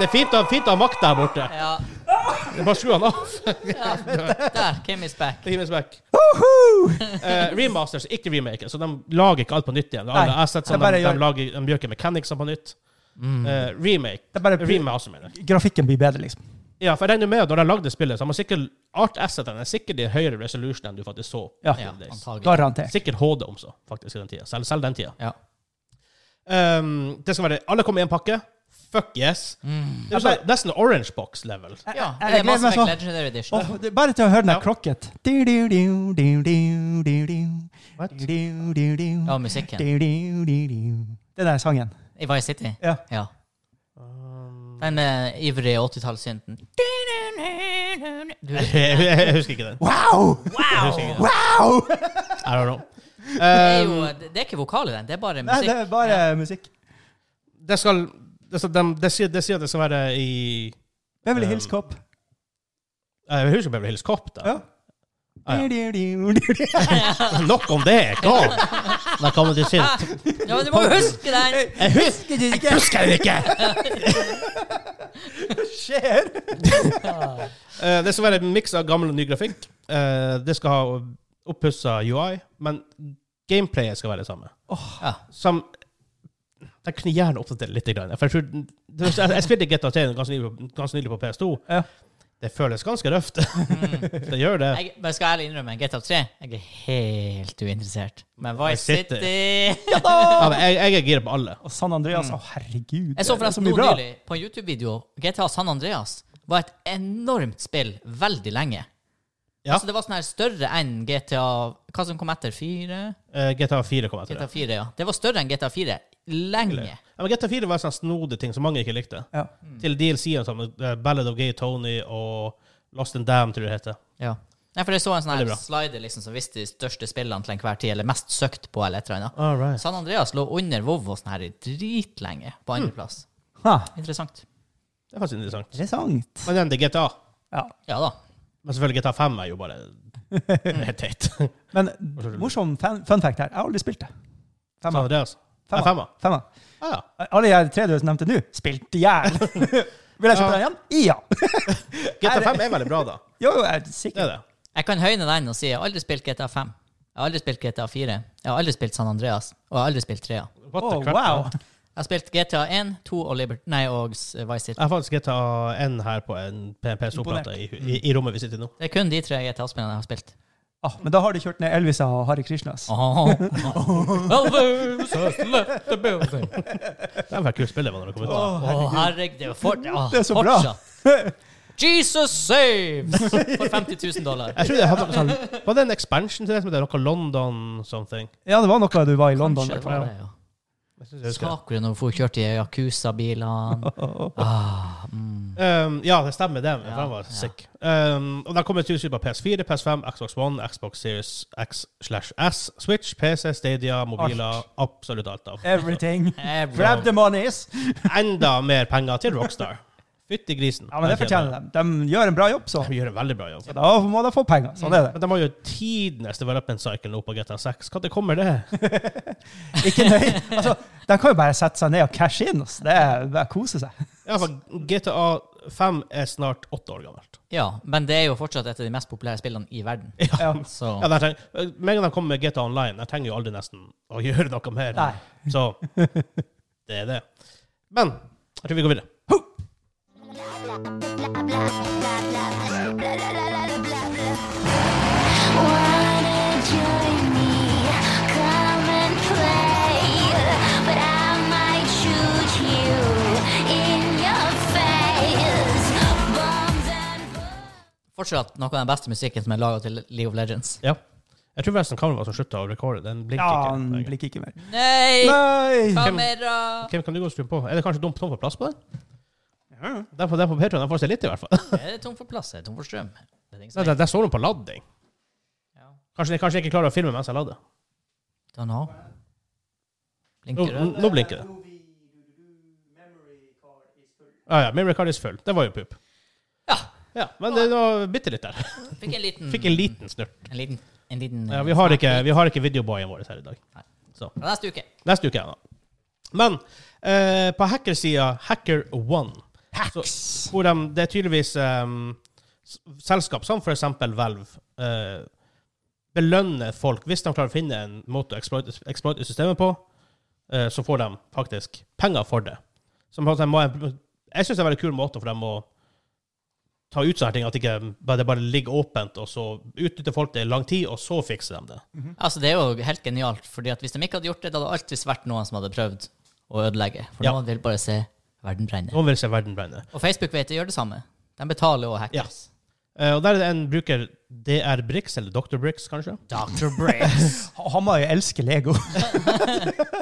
[SPEAKER 1] Det er fint å fint å ha makta her borte.
[SPEAKER 2] Ja.
[SPEAKER 1] Det er Bare skru han av.
[SPEAKER 2] Der, Kim is back.
[SPEAKER 1] Det gir meg smak.
[SPEAKER 3] Woohoo!
[SPEAKER 1] Eh, remasters, ikke remakes. Så de lager ikke alt på nytt igjen.
[SPEAKER 3] Nei,
[SPEAKER 1] Alle assets,
[SPEAKER 3] det
[SPEAKER 1] de,
[SPEAKER 3] er bare
[SPEAKER 1] de,
[SPEAKER 3] gjør- Mm.
[SPEAKER 1] lager, de gjør ikke mechanicsene på nytt. Eh, remake.
[SPEAKER 3] Det er bare-
[SPEAKER 1] Remaster, mener jeg.
[SPEAKER 3] Grafikken blir bedre, liksom.
[SPEAKER 1] Ja, for jeg regner med at når de lagde spillet, så har man sikkert art assetene er sikkert i høyere resolution enn du faktisk så.
[SPEAKER 3] Ja,
[SPEAKER 2] Ja, antagelig.
[SPEAKER 3] garantert.
[SPEAKER 1] Sikkert HD om så, faktisk, i den tida. Selv, selv den tida.
[SPEAKER 2] Ja.
[SPEAKER 1] Ehm, det skal være Alle kommer i en pakke. Fuck yes.
[SPEAKER 3] Mm.
[SPEAKER 1] Det er jo sånn, nesten Orange Box level.
[SPEAKER 2] ja.
[SPEAKER 3] jeg
[SPEAKER 2] Eller
[SPEAKER 3] gleder
[SPEAKER 2] Mass
[SPEAKER 3] meg
[SPEAKER 2] Effect
[SPEAKER 3] sånn.
[SPEAKER 2] Legendary Edition.
[SPEAKER 3] Åh, det, bare til å høre den der
[SPEAKER 1] Ja.
[SPEAKER 3] krokket. Du, du, du, du, du, du, du.
[SPEAKER 1] What?
[SPEAKER 3] Du, du, du.
[SPEAKER 2] Ja, musikken.
[SPEAKER 3] Du, du, du, du. Det der er sangen.
[SPEAKER 2] I Vice City.
[SPEAKER 3] Ja.
[SPEAKER 2] Ja.
[SPEAKER 1] Um,
[SPEAKER 2] Den eh, ivrige 80-tallssynten. Du-
[SPEAKER 1] jeg husker ikke den.
[SPEAKER 3] Wow!
[SPEAKER 1] Jeg husker ikke den.
[SPEAKER 3] Wow!
[SPEAKER 1] I don't know.
[SPEAKER 2] Det er
[SPEAKER 1] Ehm,
[SPEAKER 2] jo Det er ikke vokal i den, det er bare
[SPEAKER 3] Um, Nei, det
[SPEAKER 2] musikk.
[SPEAKER 3] er bare musikk.
[SPEAKER 1] det skal det, skal- de, det, sier, det sier at det skal være i
[SPEAKER 3] Beverly Hills Cop.
[SPEAKER 1] eh, Jeg husker Beverly Hills Cop, da.
[SPEAKER 3] Ja.
[SPEAKER 1] Ah, ja.
[SPEAKER 3] Du, du, du, du, du.
[SPEAKER 1] Nok om det! God! Da kommer du til
[SPEAKER 2] Ah, Ja, men du må jo huske den!
[SPEAKER 1] Jeg husker det ikke! Jeg husker det ikke!
[SPEAKER 3] Skjer?
[SPEAKER 1] Eh, det skal være en miks av gammel og ny grafikk. Eh, det skal ha oppussa UI, men gameplayet skal være det samme.
[SPEAKER 2] Ja.
[SPEAKER 1] Som Jeg kunne gjerne oppdatert litt. Grann, for jeg, tror, det- jeg, jeg spilte GTA 3 ganske nylig, ganske nylig på PS2.
[SPEAKER 3] Ja.
[SPEAKER 1] Det føles ganske røft. det gjør det.
[SPEAKER 2] Jeg, men skal jeg ærlig innrømme, GTA 3 Jeg er helt uinteressert. Men Vice
[SPEAKER 1] Vice
[SPEAKER 2] City
[SPEAKER 1] City. Ja, men jeg, jeg er gira på alle.
[SPEAKER 3] Og San Andreas, å herregud.
[SPEAKER 2] Jeg så
[SPEAKER 3] det er
[SPEAKER 2] forresten
[SPEAKER 3] mye
[SPEAKER 2] nå
[SPEAKER 3] bra.
[SPEAKER 2] nylig på en YouTube-video GTA San Andreas var et enormt spill veldig lenge.
[SPEAKER 1] Ja.
[SPEAKER 2] Altså Det var sånn her større enn GTA Hva som kom etter? 4?
[SPEAKER 1] Eh, GTA 4 kom etter
[SPEAKER 2] GTA
[SPEAKER 1] det.
[SPEAKER 2] 4, ja. Det var større enn GTA 4 lenge.
[SPEAKER 1] Ja, men GTA 4 var en sånn snodig ting som mange ikke likte.
[SPEAKER 3] Ja.
[SPEAKER 1] Til DLC-en som eh, Ballad of Gay Tony og Lost and Dam, tror jeg det heter.
[SPEAKER 2] Ja. Nei, for jeg så en sånn
[SPEAKER 1] Veldig
[SPEAKER 2] her
[SPEAKER 1] bra.
[SPEAKER 2] slider liksom, som visste de største spillene til enhver tid, eller mest søkt på, eller et eller annet.
[SPEAKER 1] All right.
[SPEAKER 2] San Andreas lå under Vovvo sånn her i dritlenge på
[SPEAKER 1] Hmm.
[SPEAKER 2] andreplass.
[SPEAKER 3] Ha,
[SPEAKER 2] Interessant.
[SPEAKER 1] Det er faktisk interessant.
[SPEAKER 3] interessant.
[SPEAKER 1] Men igjen, det er GTA.
[SPEAKER 3] Ja.
[SPEAKER 2] Ja da.
[SPEAKER 1] Men selvfølgelig, GTA 5 er jo bare helt teit.
[SPEAKER 3] Men
[SPEAKER 1] tror du?
[SPEAKER 3] morsom fun, fun fact her. Jeg har aldri spilt det.
[SPEAKER 1] San
[SPEAKER 3] Femmer.
[SPEAKER 1] Andreas. Nei,
[SPEAKER 3] Femmer.
[SPEAKER 1] altså- femmer.
[SPEAKER 3] Femmer.
[SPEAKER 1] Ah, ja.
[SPEAKER 3] Alle de tre du nevnte nå, spilt i hjel. Vil jeg kjøpe den igjen? Ja.
[SPEAKER 1] GTA 5 er veldig bra, da.
[SPEAKER 3] Jo, jo, jeg er
[SPEAKER 1] Det
[SPEAKER 3] sikker.
[SPEAKER 1] er det.
[SPEAKER 2] Jeg kan høyne den og si jeg har aldri spilt GTA 5. Jeg har aldri spilt GTA 4. Jeg har aldri spilt San Andreas. Og jeg har aldri spilt 3. Jeg
[SPEAKER 1] What the
[SPEAKER 3] Å,
[SPEAKER 1] crap,
[SPEAKER 3] Oh, wow.
[SPEAKER 1] da?
[SPEAKER 2] har spilt GTA 1, 2 og Liberty Nei, og s- Vice City.
[SPEAKER 1] Jeg har faktisk GTA 1 her på en PNP-soplate i, i, i rommet vi sitter i nå.
[SPEAKER 2] Det er kun de tre GTA-spillene jeg har spilt.
[SPEAKER 3] Ah, men da har du kjørt ned Elvis og Hare Krishnas.
[SPEAKER 2] Oh. Elvis has left the building.
[SPEAKER 1] Det var et kult spill det var når det kom ut.
[SPEAKER 2] Å, herregud. Det, er jo fort, å,
[SPEAKER 3] Det er så bra.
[SPEAKER 2] Jesus saves! For 50 000 dollar.
[SPEAKER 1] Jeg tror det hadde noe sånn Var det en expansion til det som heter noe London something?
[SPEAKER 3] Ja, det var noe du var i London.
[SPEAKER 2] Kanskje
[SPEAKER 3] i hvert
[SPEAKER 2] var
[SPEAKER 3] fall.
[SPEAKER 2] det, ja.
[SPEAKER 1] Jeg synes jeg husker det.
[SPEAKER 2] Saker når hun får kjørt i Yakuza-bilene. Ah, mm.
[SPEAKER 1] Um, ja, det stemmer, det. For
[SPEAKER 2] Ja,
[SPEAKER 1] den var
[SPEAKER 2] ja.
[SPEAKER 1] sick. Um, og den kommer til på PS4, PS5, Xbox One, Xbox Series X slash S, Switch, PC, Stadia, mobiler, absolutt alt av.
[SPEAKER 3] Everything. Grab
[SPEAKER 2] Everyone.
[SPEAKER 3] the monies.
[SPEAKER 1] Enda mer penger til Rockstar. Fytti grisen.
[SPEAKER 3] Ja, men det
[SPEAKER 1] Jeg
[SPEAKER 3] fortjener de. De gjør en bra jobb, så.
[SPEAKER 1] De gjør en veldig bra jobb.
[SPEAKER 3] Da må de få penger. Sånn er det.
[SPEAKER 1] Men de har jo tidenes development cycle nå på GTA6. Når kommer det? Mm.
[SPEAKER 3] Ikke nøy. Altså, de kan jo bare sette seg ned og cashe inn. ass. Det er bare kose seg.
[SPEAKER 1] I hvert fall, GTA5 er snart åtte år gammelt.
[SPEAKER 2] Ja, men det er jo fortsatt et av de mest populære spillene i verden.
[SPEAKER 3] Ja.
[SPEAKER 2] Så
[SPEAKER 1] Ja, der trenger, eh, med en gang de kommer med GTA Online, der trenger jo aldri nesten å gjøre noe mer.
[SPEAKER 3] Nei.
[SPEAKER 1] Så det er det. Men jeg tror vi går videre.
[SPEAKER 4] Wanna join me? Come and play, but I might shoot you in your face. Bombs and
[SPEAKER 2] fortsatt noe av den beste musikken som er laga til League of Legends.
[SPEAKER 1] Ja. Jeg tror forresten kameraet som slutta å recorde, den blinker
[SPEAKER 3] Ja,
[SPEAKER 1] ikke.
[SPEAKER 3] han
[SPEAKER 1] Nei.
[SPEAKER 3] blikker ikke mer.
[SPEAKER 2] Nei!
[SPEAKER 3] Nei!
[SPEAKER 2] Kamera!
[SPEAKER 1] Hvem kan du gå og skru på? Er det kanskje dumt tom for plass på den? Den på, den på Patreon, den får seg litt, i hvert fall.
[SPEAKER 2] Er det tom for plass? Er det tom for strøm? Det er ingen
[SPEAKER 1] Der,
[SPEAKER 2] som vet.
[SPEAKER 1] der står hun på ladding.
[SPEAKER 2] Ja.
[SPEAKER 1] Kanskje jeg kanskje jeg ikke klarer å filme mens jeg lader.
[SPEAKER 2] Don't know.
[SPEAKER 1] Nå,
[SPEAKER 2] Blinker rød.
[SPEAKER 1] nå blinker det. Ja, ja. Memory card is full. Det var jo pup.
[SPEAKER 2] Ja.
[SPEAKER 1] Ja, men det var bitte litt der.
[SPEAKER 2] Fikk en liten
[SPEAKER 1] Fikk en liten snurt.
[SPEAKER 2] En liten, en liten
[SPEAKER 1] Ja, vi har ikke, vi har ikke videoboyen vår her i dag.
[SPEAKER 2] Ja, Neste uke.
[SPEAKER 1] Neste uke, ja. Men eh, på hackersida Hacker1 så- hvor de, Det er tydeligvis em, s- selskap som f.eks. Valve eh, belønner folk hvis de klarer å finne en måte å exploite, exploite systemet på, eh, så får de faktisk penger for det. Som på en måte må, jeg syns det er en veldig kul måte for dem å ta ut sånne ting, at det ikke bare- det bare ligger åpent, og så utnytter folk det i lang tid, og så fikser de det.
[SPEAKER 2] Altså, det er jo helt genialt, fordi at hvis de ikke hadde gjort det, da hadde det alltid vært noen som hadde prøvd å ødelegge. For
[SPEAKER 1] Ja.
[SPEAKER 2] noen vil bare se verden brenne.
[SPEAKER 1] Noen vil se verden brenne.
[SPEAKER 2] Og Facebook vet de gjør det samme. De betaler og hackers.
[SPEAKER 1] Eh, og der er det en bruker DR Brix, eller Dr. Brix, kanskje.
[SPEAKER 2] Dr. Briggs.
[SPEAKER 3] Han må jo elske Lego.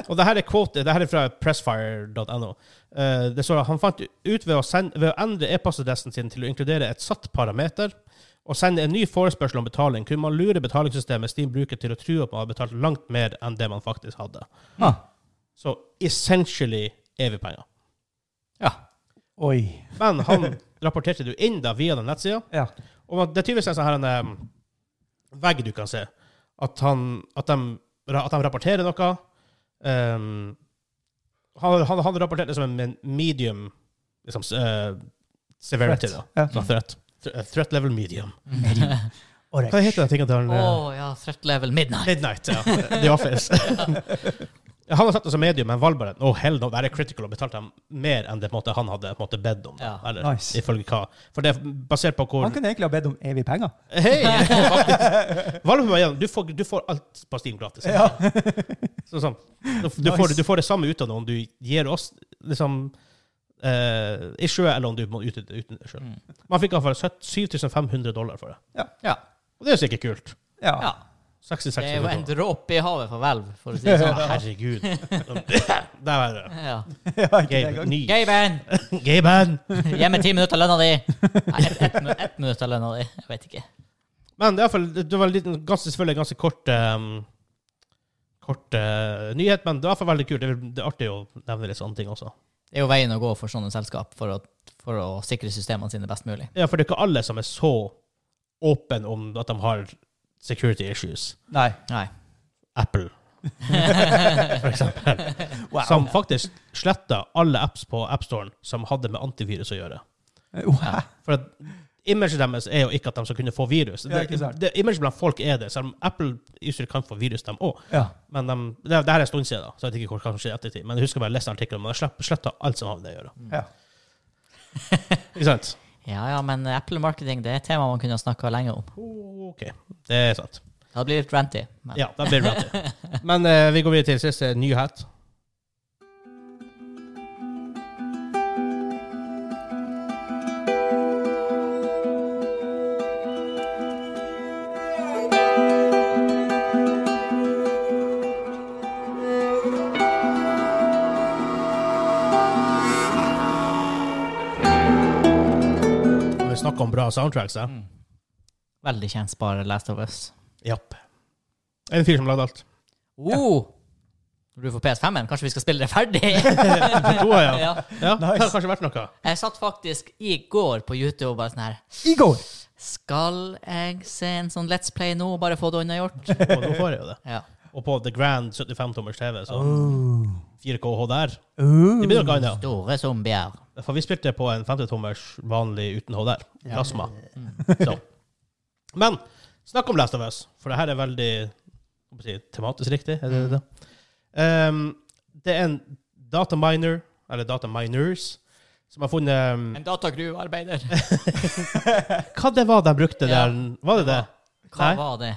[SPEAKER 1] Og det her er quote, det her er fra pressfire.no. Eh, det står at han fant ut ved å, send, ved å endre e-postadressen sin til å inkludere et satt parameter, og sende en ny forespørsel om betaling, kunne man lure betalingssystemet Steam bruker til å tro at man har betalt langt mer enn det man faktisk hadde.
[SPEAKER 3] Ah.
[SPEAKER 1] Så essentially evig penger.
[SPEAKER 2] Ja.
[SPEAKER 3] Oi.
[SPEAKER 1] Men han rapporterte det jo inn da via den nettsida,
[SPEAKER 3] Ja.
[SPEAKER 1] Og man- det er tydeligvis en sånn her en em, vegg du kan se. At, han, at, de, ra- at de rapporterer noe. Em, han, han, han rapporterte som en medium liksom, s- eh, severity.
[SPEAKER 3] Threat.
[SPEAKER 1] Da.
[SPEAKER 3] Ja.
[SPEAKER 1] Så threat. Th- eh, Threat level medium.
[SPEAKER 3] Orange.
[SPEAKER 1] Hva heter den tingen til han
[SPEAKER 2] Å
[SPEAKER 1] eh,
[SPEAKER 2] ja, threat level midnight.
[SPEAKER 1] Midnight, ja. The Office. han har satt det som medium, men Valbaren oh, hell no, det er critical, og betalte dem mer enn det på en måte, han hadde på en måte, bedt om. da.
[SPEAKER 2] Ja.
[SPEAKER 1] Eller,
[SPEAKER 3] Nice.
[SPEAKER 1] ifølge hva. For det er basert på hvor
[SPEAKER 3] Han kunne egentlig ha bedt om evig penger.
[SPEAKER 1] Hei! Valve var igjen. Du får, du får alt på Steam gratis. Så, sånn. du, du, får, du får det samme ut av noen du gir oss liksom, eh, i sjø, eller om du må ut uten sjø. Man fikk iallfall 7500 dollar for det.
[SPEAKER 2] Mm. Ja.
[SPEAKER 1] Og det er jo sikkert kult.
[SPEAKER 3] Ja.
[SPEAKER 2] ja.
[SPEAKER 1] 66
[SPEAKER 2] Det er jo en
[SPEAKER 1] minutter.
[SPEAKER 2] dråpe i havet for hvelv, for å si det sånn.
[SPEAKER 1] Herregud. Der er det.
[SPEAKER 2] Ja.
[SPEAKER 3] Ja, ikke det
[SPEAKER 1] Gabe,
[SPEAKER 3] engang.
[SPEAKER 1] ny.
[SPEAKER 2] Gaben!
[SPEAKER 1] Gaben.
[SPEAKER 2] Gi meg ti minutter av lønna di! Nei, ett et, minutt av lønna di. Jeg vet ikke.
[SPEAKER 1] Men det, er i hvert fall- det var en liten, ganske, selvfølgelig en ganske kort ehm, Kort eh, nyhet, men det er i hvert fall veldig kult. Det er, det er artig å nevne litt sånne ting også.
[SPEAKER 2] Det er jo veien å gå for sånne selskap, for å, for å sikre systemene sine best mulig.
[SPEAKER 1] Ja, For det er ikke alle som er så åpne om at de har security issues.
[SPEAKER 3] Nei.
[SPEAKER 2] Nei.
[SPEAKER 1] Apple, for eksempel.
[SPEAKER 3] Wow.
[SPEAKER 1] Som faktisk sletta alle apps på AppStoren som hadde med antivirus å gjøre.
[SPEAKER 3] Wow.
[SPEAKER 1] For at imaget deres er jo ikke at de skal kunne få virus.
[SPEAKER 3] Ja, ikke sant.
[SPEAKER 1] Det, det, imaget blant folk er det, selv om Apple-usere kan få virus, dem òg.
[SPEAKER 3] Ja.
[SPEAKER 1] Men de, det, det her er en stund siden, da, så jeg vet ikke hvor- hva som skjer i ettertid. Men jeg husker bare jeg leste artikkelen, men jeg sletta alt som har med det å gjøre.
[SPEAKER 3] ja.
[SPEAKER 1] Ikke sant?
[SPEAKER 2] Ja ja, men Apple marketing det er et tema man kunne ha snakka lenge om.
[SPEAKER 1] OK. Det er sant.
[SPEAKER 2] Det hadde blitt litt ranty. Men.
[SPEAKER 1] Ja, da blir det rett. Men eh, vi går videre til siste nyhet. Når Vi snakker om bra soundtracks, ja.
[SPEAKER 2] Veldig kjent spare Last of Us.
[SPEAKER 1] Japp. En fyr som lagde alt.
[SPEAKER 2] Oh! Når du får PS5-en, kanskje vi skal spille det ferdig?
[SPEAKER 1] To, ja.
[SPEAKER 2] ja.
[SPEAKER 1] Ja, det har
[SPEAKER 3] Nice.
[SPEAKER 1] kanskje vært noe.
[SPEAKER 2] Jeg satt faktisk i går på YouTube og bare sånn her
[SPEAKER 3] I går.
[SPEAKER 2] Skal jeg se en sånn Let's Play nå, bare få det unnagjort?
[SPEAKER 1] Og nå får jeg jo det.
[SPEAKER 2] Ja.
[SPEAKER 1] Og på The Grand 75-tommers TV, så
[SPEAKER 3] Oh.
[SPEAKER 1] 4K HDR.
[SPEAKER 3] Oh.
[SPEAKER 1] Det blir noe annet.
[SPEAKER 2] Store zombier.
[SPEAKER 1] For vi spilte på en 50-tommers vanlig uten HDR. Plasma. Så. Men snakk om Last of Us, for det her er veldig hva skal jeg si, tematisk riktig. Er det, det? Um, det er en dataminer, eller dataminers, som har funnet um,
[SPEAKER 2] En datagruvearbeider.
[SPEAKER 1] Hva det var de brukte
[SPEAKER 2] Ja.
[SPEAKER 1] der? Var det det?
[SPEAKER 2] Hva
[SPEAKER 1] Nei.
[SPEAKER 2] var det?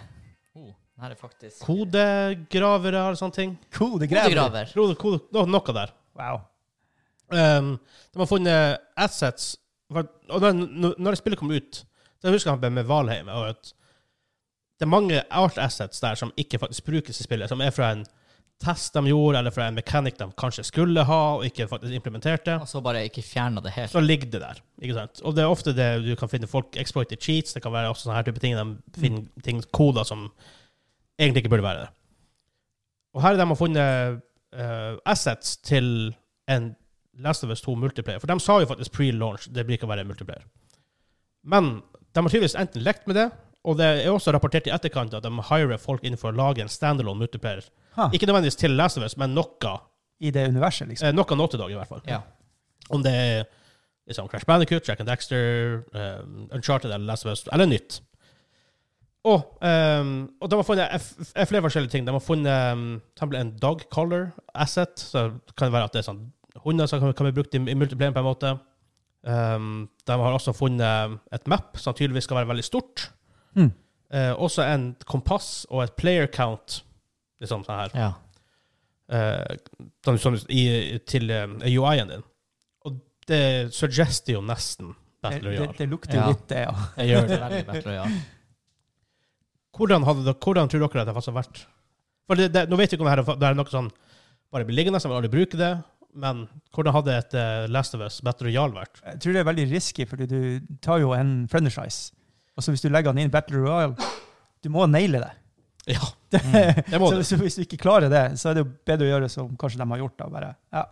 [SPEAKER 2] Oh, det her er faktisk
[SPEAKER 1] Kodegravere eller sånne ting?
[SPEAKER 3] Cool, det greier vi.
[SPEAKER 2] Kodegraver.
[SPEAKER 1] Kode, kode, no, noe der.
[SPEAKER 3] Wow.
[SPEAKER 1] Um, de har funnet assets for, Og da, når når spillet kom ut Da husker jeg han med Valheim og at Det er mange art assets der som ikke faktisk brukes i spillet, som er fra en test de gjorde, eller fra en mechanic de kanskje skulle ha, og ikke faktisk implementerte.
[SPEAKER 2] Og så bare ikke fjerna det helt.
[SPEAKER 1] Så ligger det der. ikke sant? Og det er ofte det du kan finne folk exploiter cheats. Det kan være også sånne her type ting. De finner ting, koder som egentlig ikke burde være der. Og her er de har funnet eh, assets til en Last of Us 2 multiplayer. For de sa jo faktisk pre-launch det blir ikke å være multiplayer. Men de har tydeligvis enten lekt med det, og det er også rapportert i etterkant at de hirer folk innenfor å lage en standalone multiplayer.
[SPEAKER 3] Ha.
[SPEAKER 1] Ikke nødvendigvis til Last of Us, men noe.
[SPEAKER 3] I det universet, liksom.
[SPEAKER 1] Eh, noe Naughty Dog, i hvert fall.
[SPEAKER 2] Ja.
[SPEAKER 1] Om det er liksom Crash Bandicoot, Jack and Dexter, um, Uncharted eller Last of Us, eller nytt. Og, um, og de har funnet f- f- flere forskjellige ting. De har funnet um, for eksempel en dog color asset. Så kan det være at det er sånn hunder som kan, kan bli brukt i, i multiplayer på en måte. Um, de har også funnet et map som tydeligvis skal være veldig stort.
[SPEAKER 3] Mm.
[SPEAKER 1] Eh, også en kompass og et player count. Liksom sånn her
[SPEAKER 2] ja.
[SPEAKER 1] eh, sånn som i, til eh, UI-en din. Og det suggester jo nesten
[SPEAKER 3] Eh, Det,
[SPEAKER 1] Battle
[SPEAKER 3] det,
[SPEAKER 1] Royale.
[SPEAKER 3] det lukter jo
[SPEAKER 2] Ja.
[SPEAKER 3] litt, eh, det, ja.
[SPEAKER 2] Jeg gjør det veldig Battle Royale.
[SPEAKER 1] Hvordan, hadde dere- hvordan tror dere at det faktisk har vært? For det, det, nå vet vi ikke om det her det er noe sånn bare blir liggende, så vil aldri bruke det. Men hvordan hadde et eh, Last of Us Battle Royale vært?
[SPEAKER 3] Jeg tror det er veldig risky, fordi du tar jo en franchise. Og så hvis du legger den inn i Battle Royale, du må naile det.
[SPEAKER 1] Ja,
[SPEAKER 3] Mm. så,
[SPEAKER 1] det må du.
[SPEAKER 3] så hvis du ikke klarer det, så er det jo bedre å gjøre som kanskje de har gjort. da, bare, ja.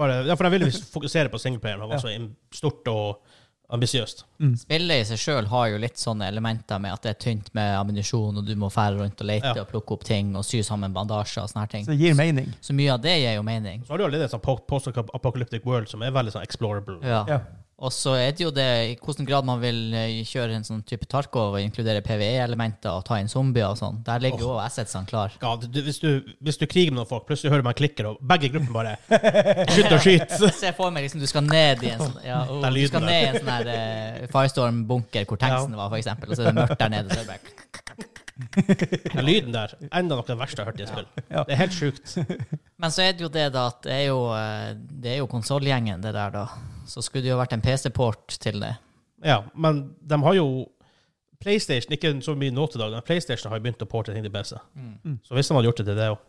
[SPEAKER 1] Bare, ja, for de ville visst fokusere på singleplayeren. Det var
[SPEAKER 3] Ja.
[SPEAKER 1] så im- stort og ambisiøst.
[SPEAKER 2] Spillet i seg sjøl har jo litt sånne elementer med at det er tynt med ammunisjon, og du må fære rundt og lete
[SPEAKER 1] Ja.
[SPEAKER 2] og plukke opp ting og sy sammen bandasjer og sånne her ting.
[SPEAKER 3] Så det gir mening.
[SPEAKER 2] Så mye av det gir jo mening.
[SPEAKER 1] Så har du allerede en sånn po- post-apocalyptic world som er veldig sånn explorable.
[SPEAKER 2] Ja.
[SPEAKER 3] Ja.
[SPEAKER 2] Og så er det jo det i hvilken grad man vil eh, kjøre en sånn type Tarkov og inkludere PVE-elementer og ta inn zombier og sånn. Der ligger jo også assetsene klar.
[SPEAKER 1] Ja, du, du- hvis, du, hvis du kriger med noen folk, plutselig hører man klikker, og begge gruppene bare Skyt og skyt!
[SPEAKER 2] Se for meg liksom du skal ned i en sånn ja,
[SPEAKER 1] Den
[SPEAKER 2] oh, Du skal
[SPEAKER 1] lyden
[SPEAKER 2] ned i en sånn her eh, Firestorm-bunker hvor tanksen var, for eksempel, og så er det mørkt der nede. Så er det bare
[SPEAKER 1] Den lyden der. Enda noe av det verste jeg har hørt i et spill.
[SPEAKER 3] Ja.
[SPEAKER 1] Det er helt sjukt.
[SPEAKER 2] Men så er det jo det da at det er jo, eh, det er jo konsollgjengen, det der, da. Så skulle det jo vært en PC-port til det.
[SPEAKER 1] Ja, men de har jo PlayStation ikke så mye nå til dagen, men PlayStation har jo begynt å porte ting til PC.
[SPEAKER 2] Mm.
[SPEAKER 1] Så hvis de hadde gjort det til det òg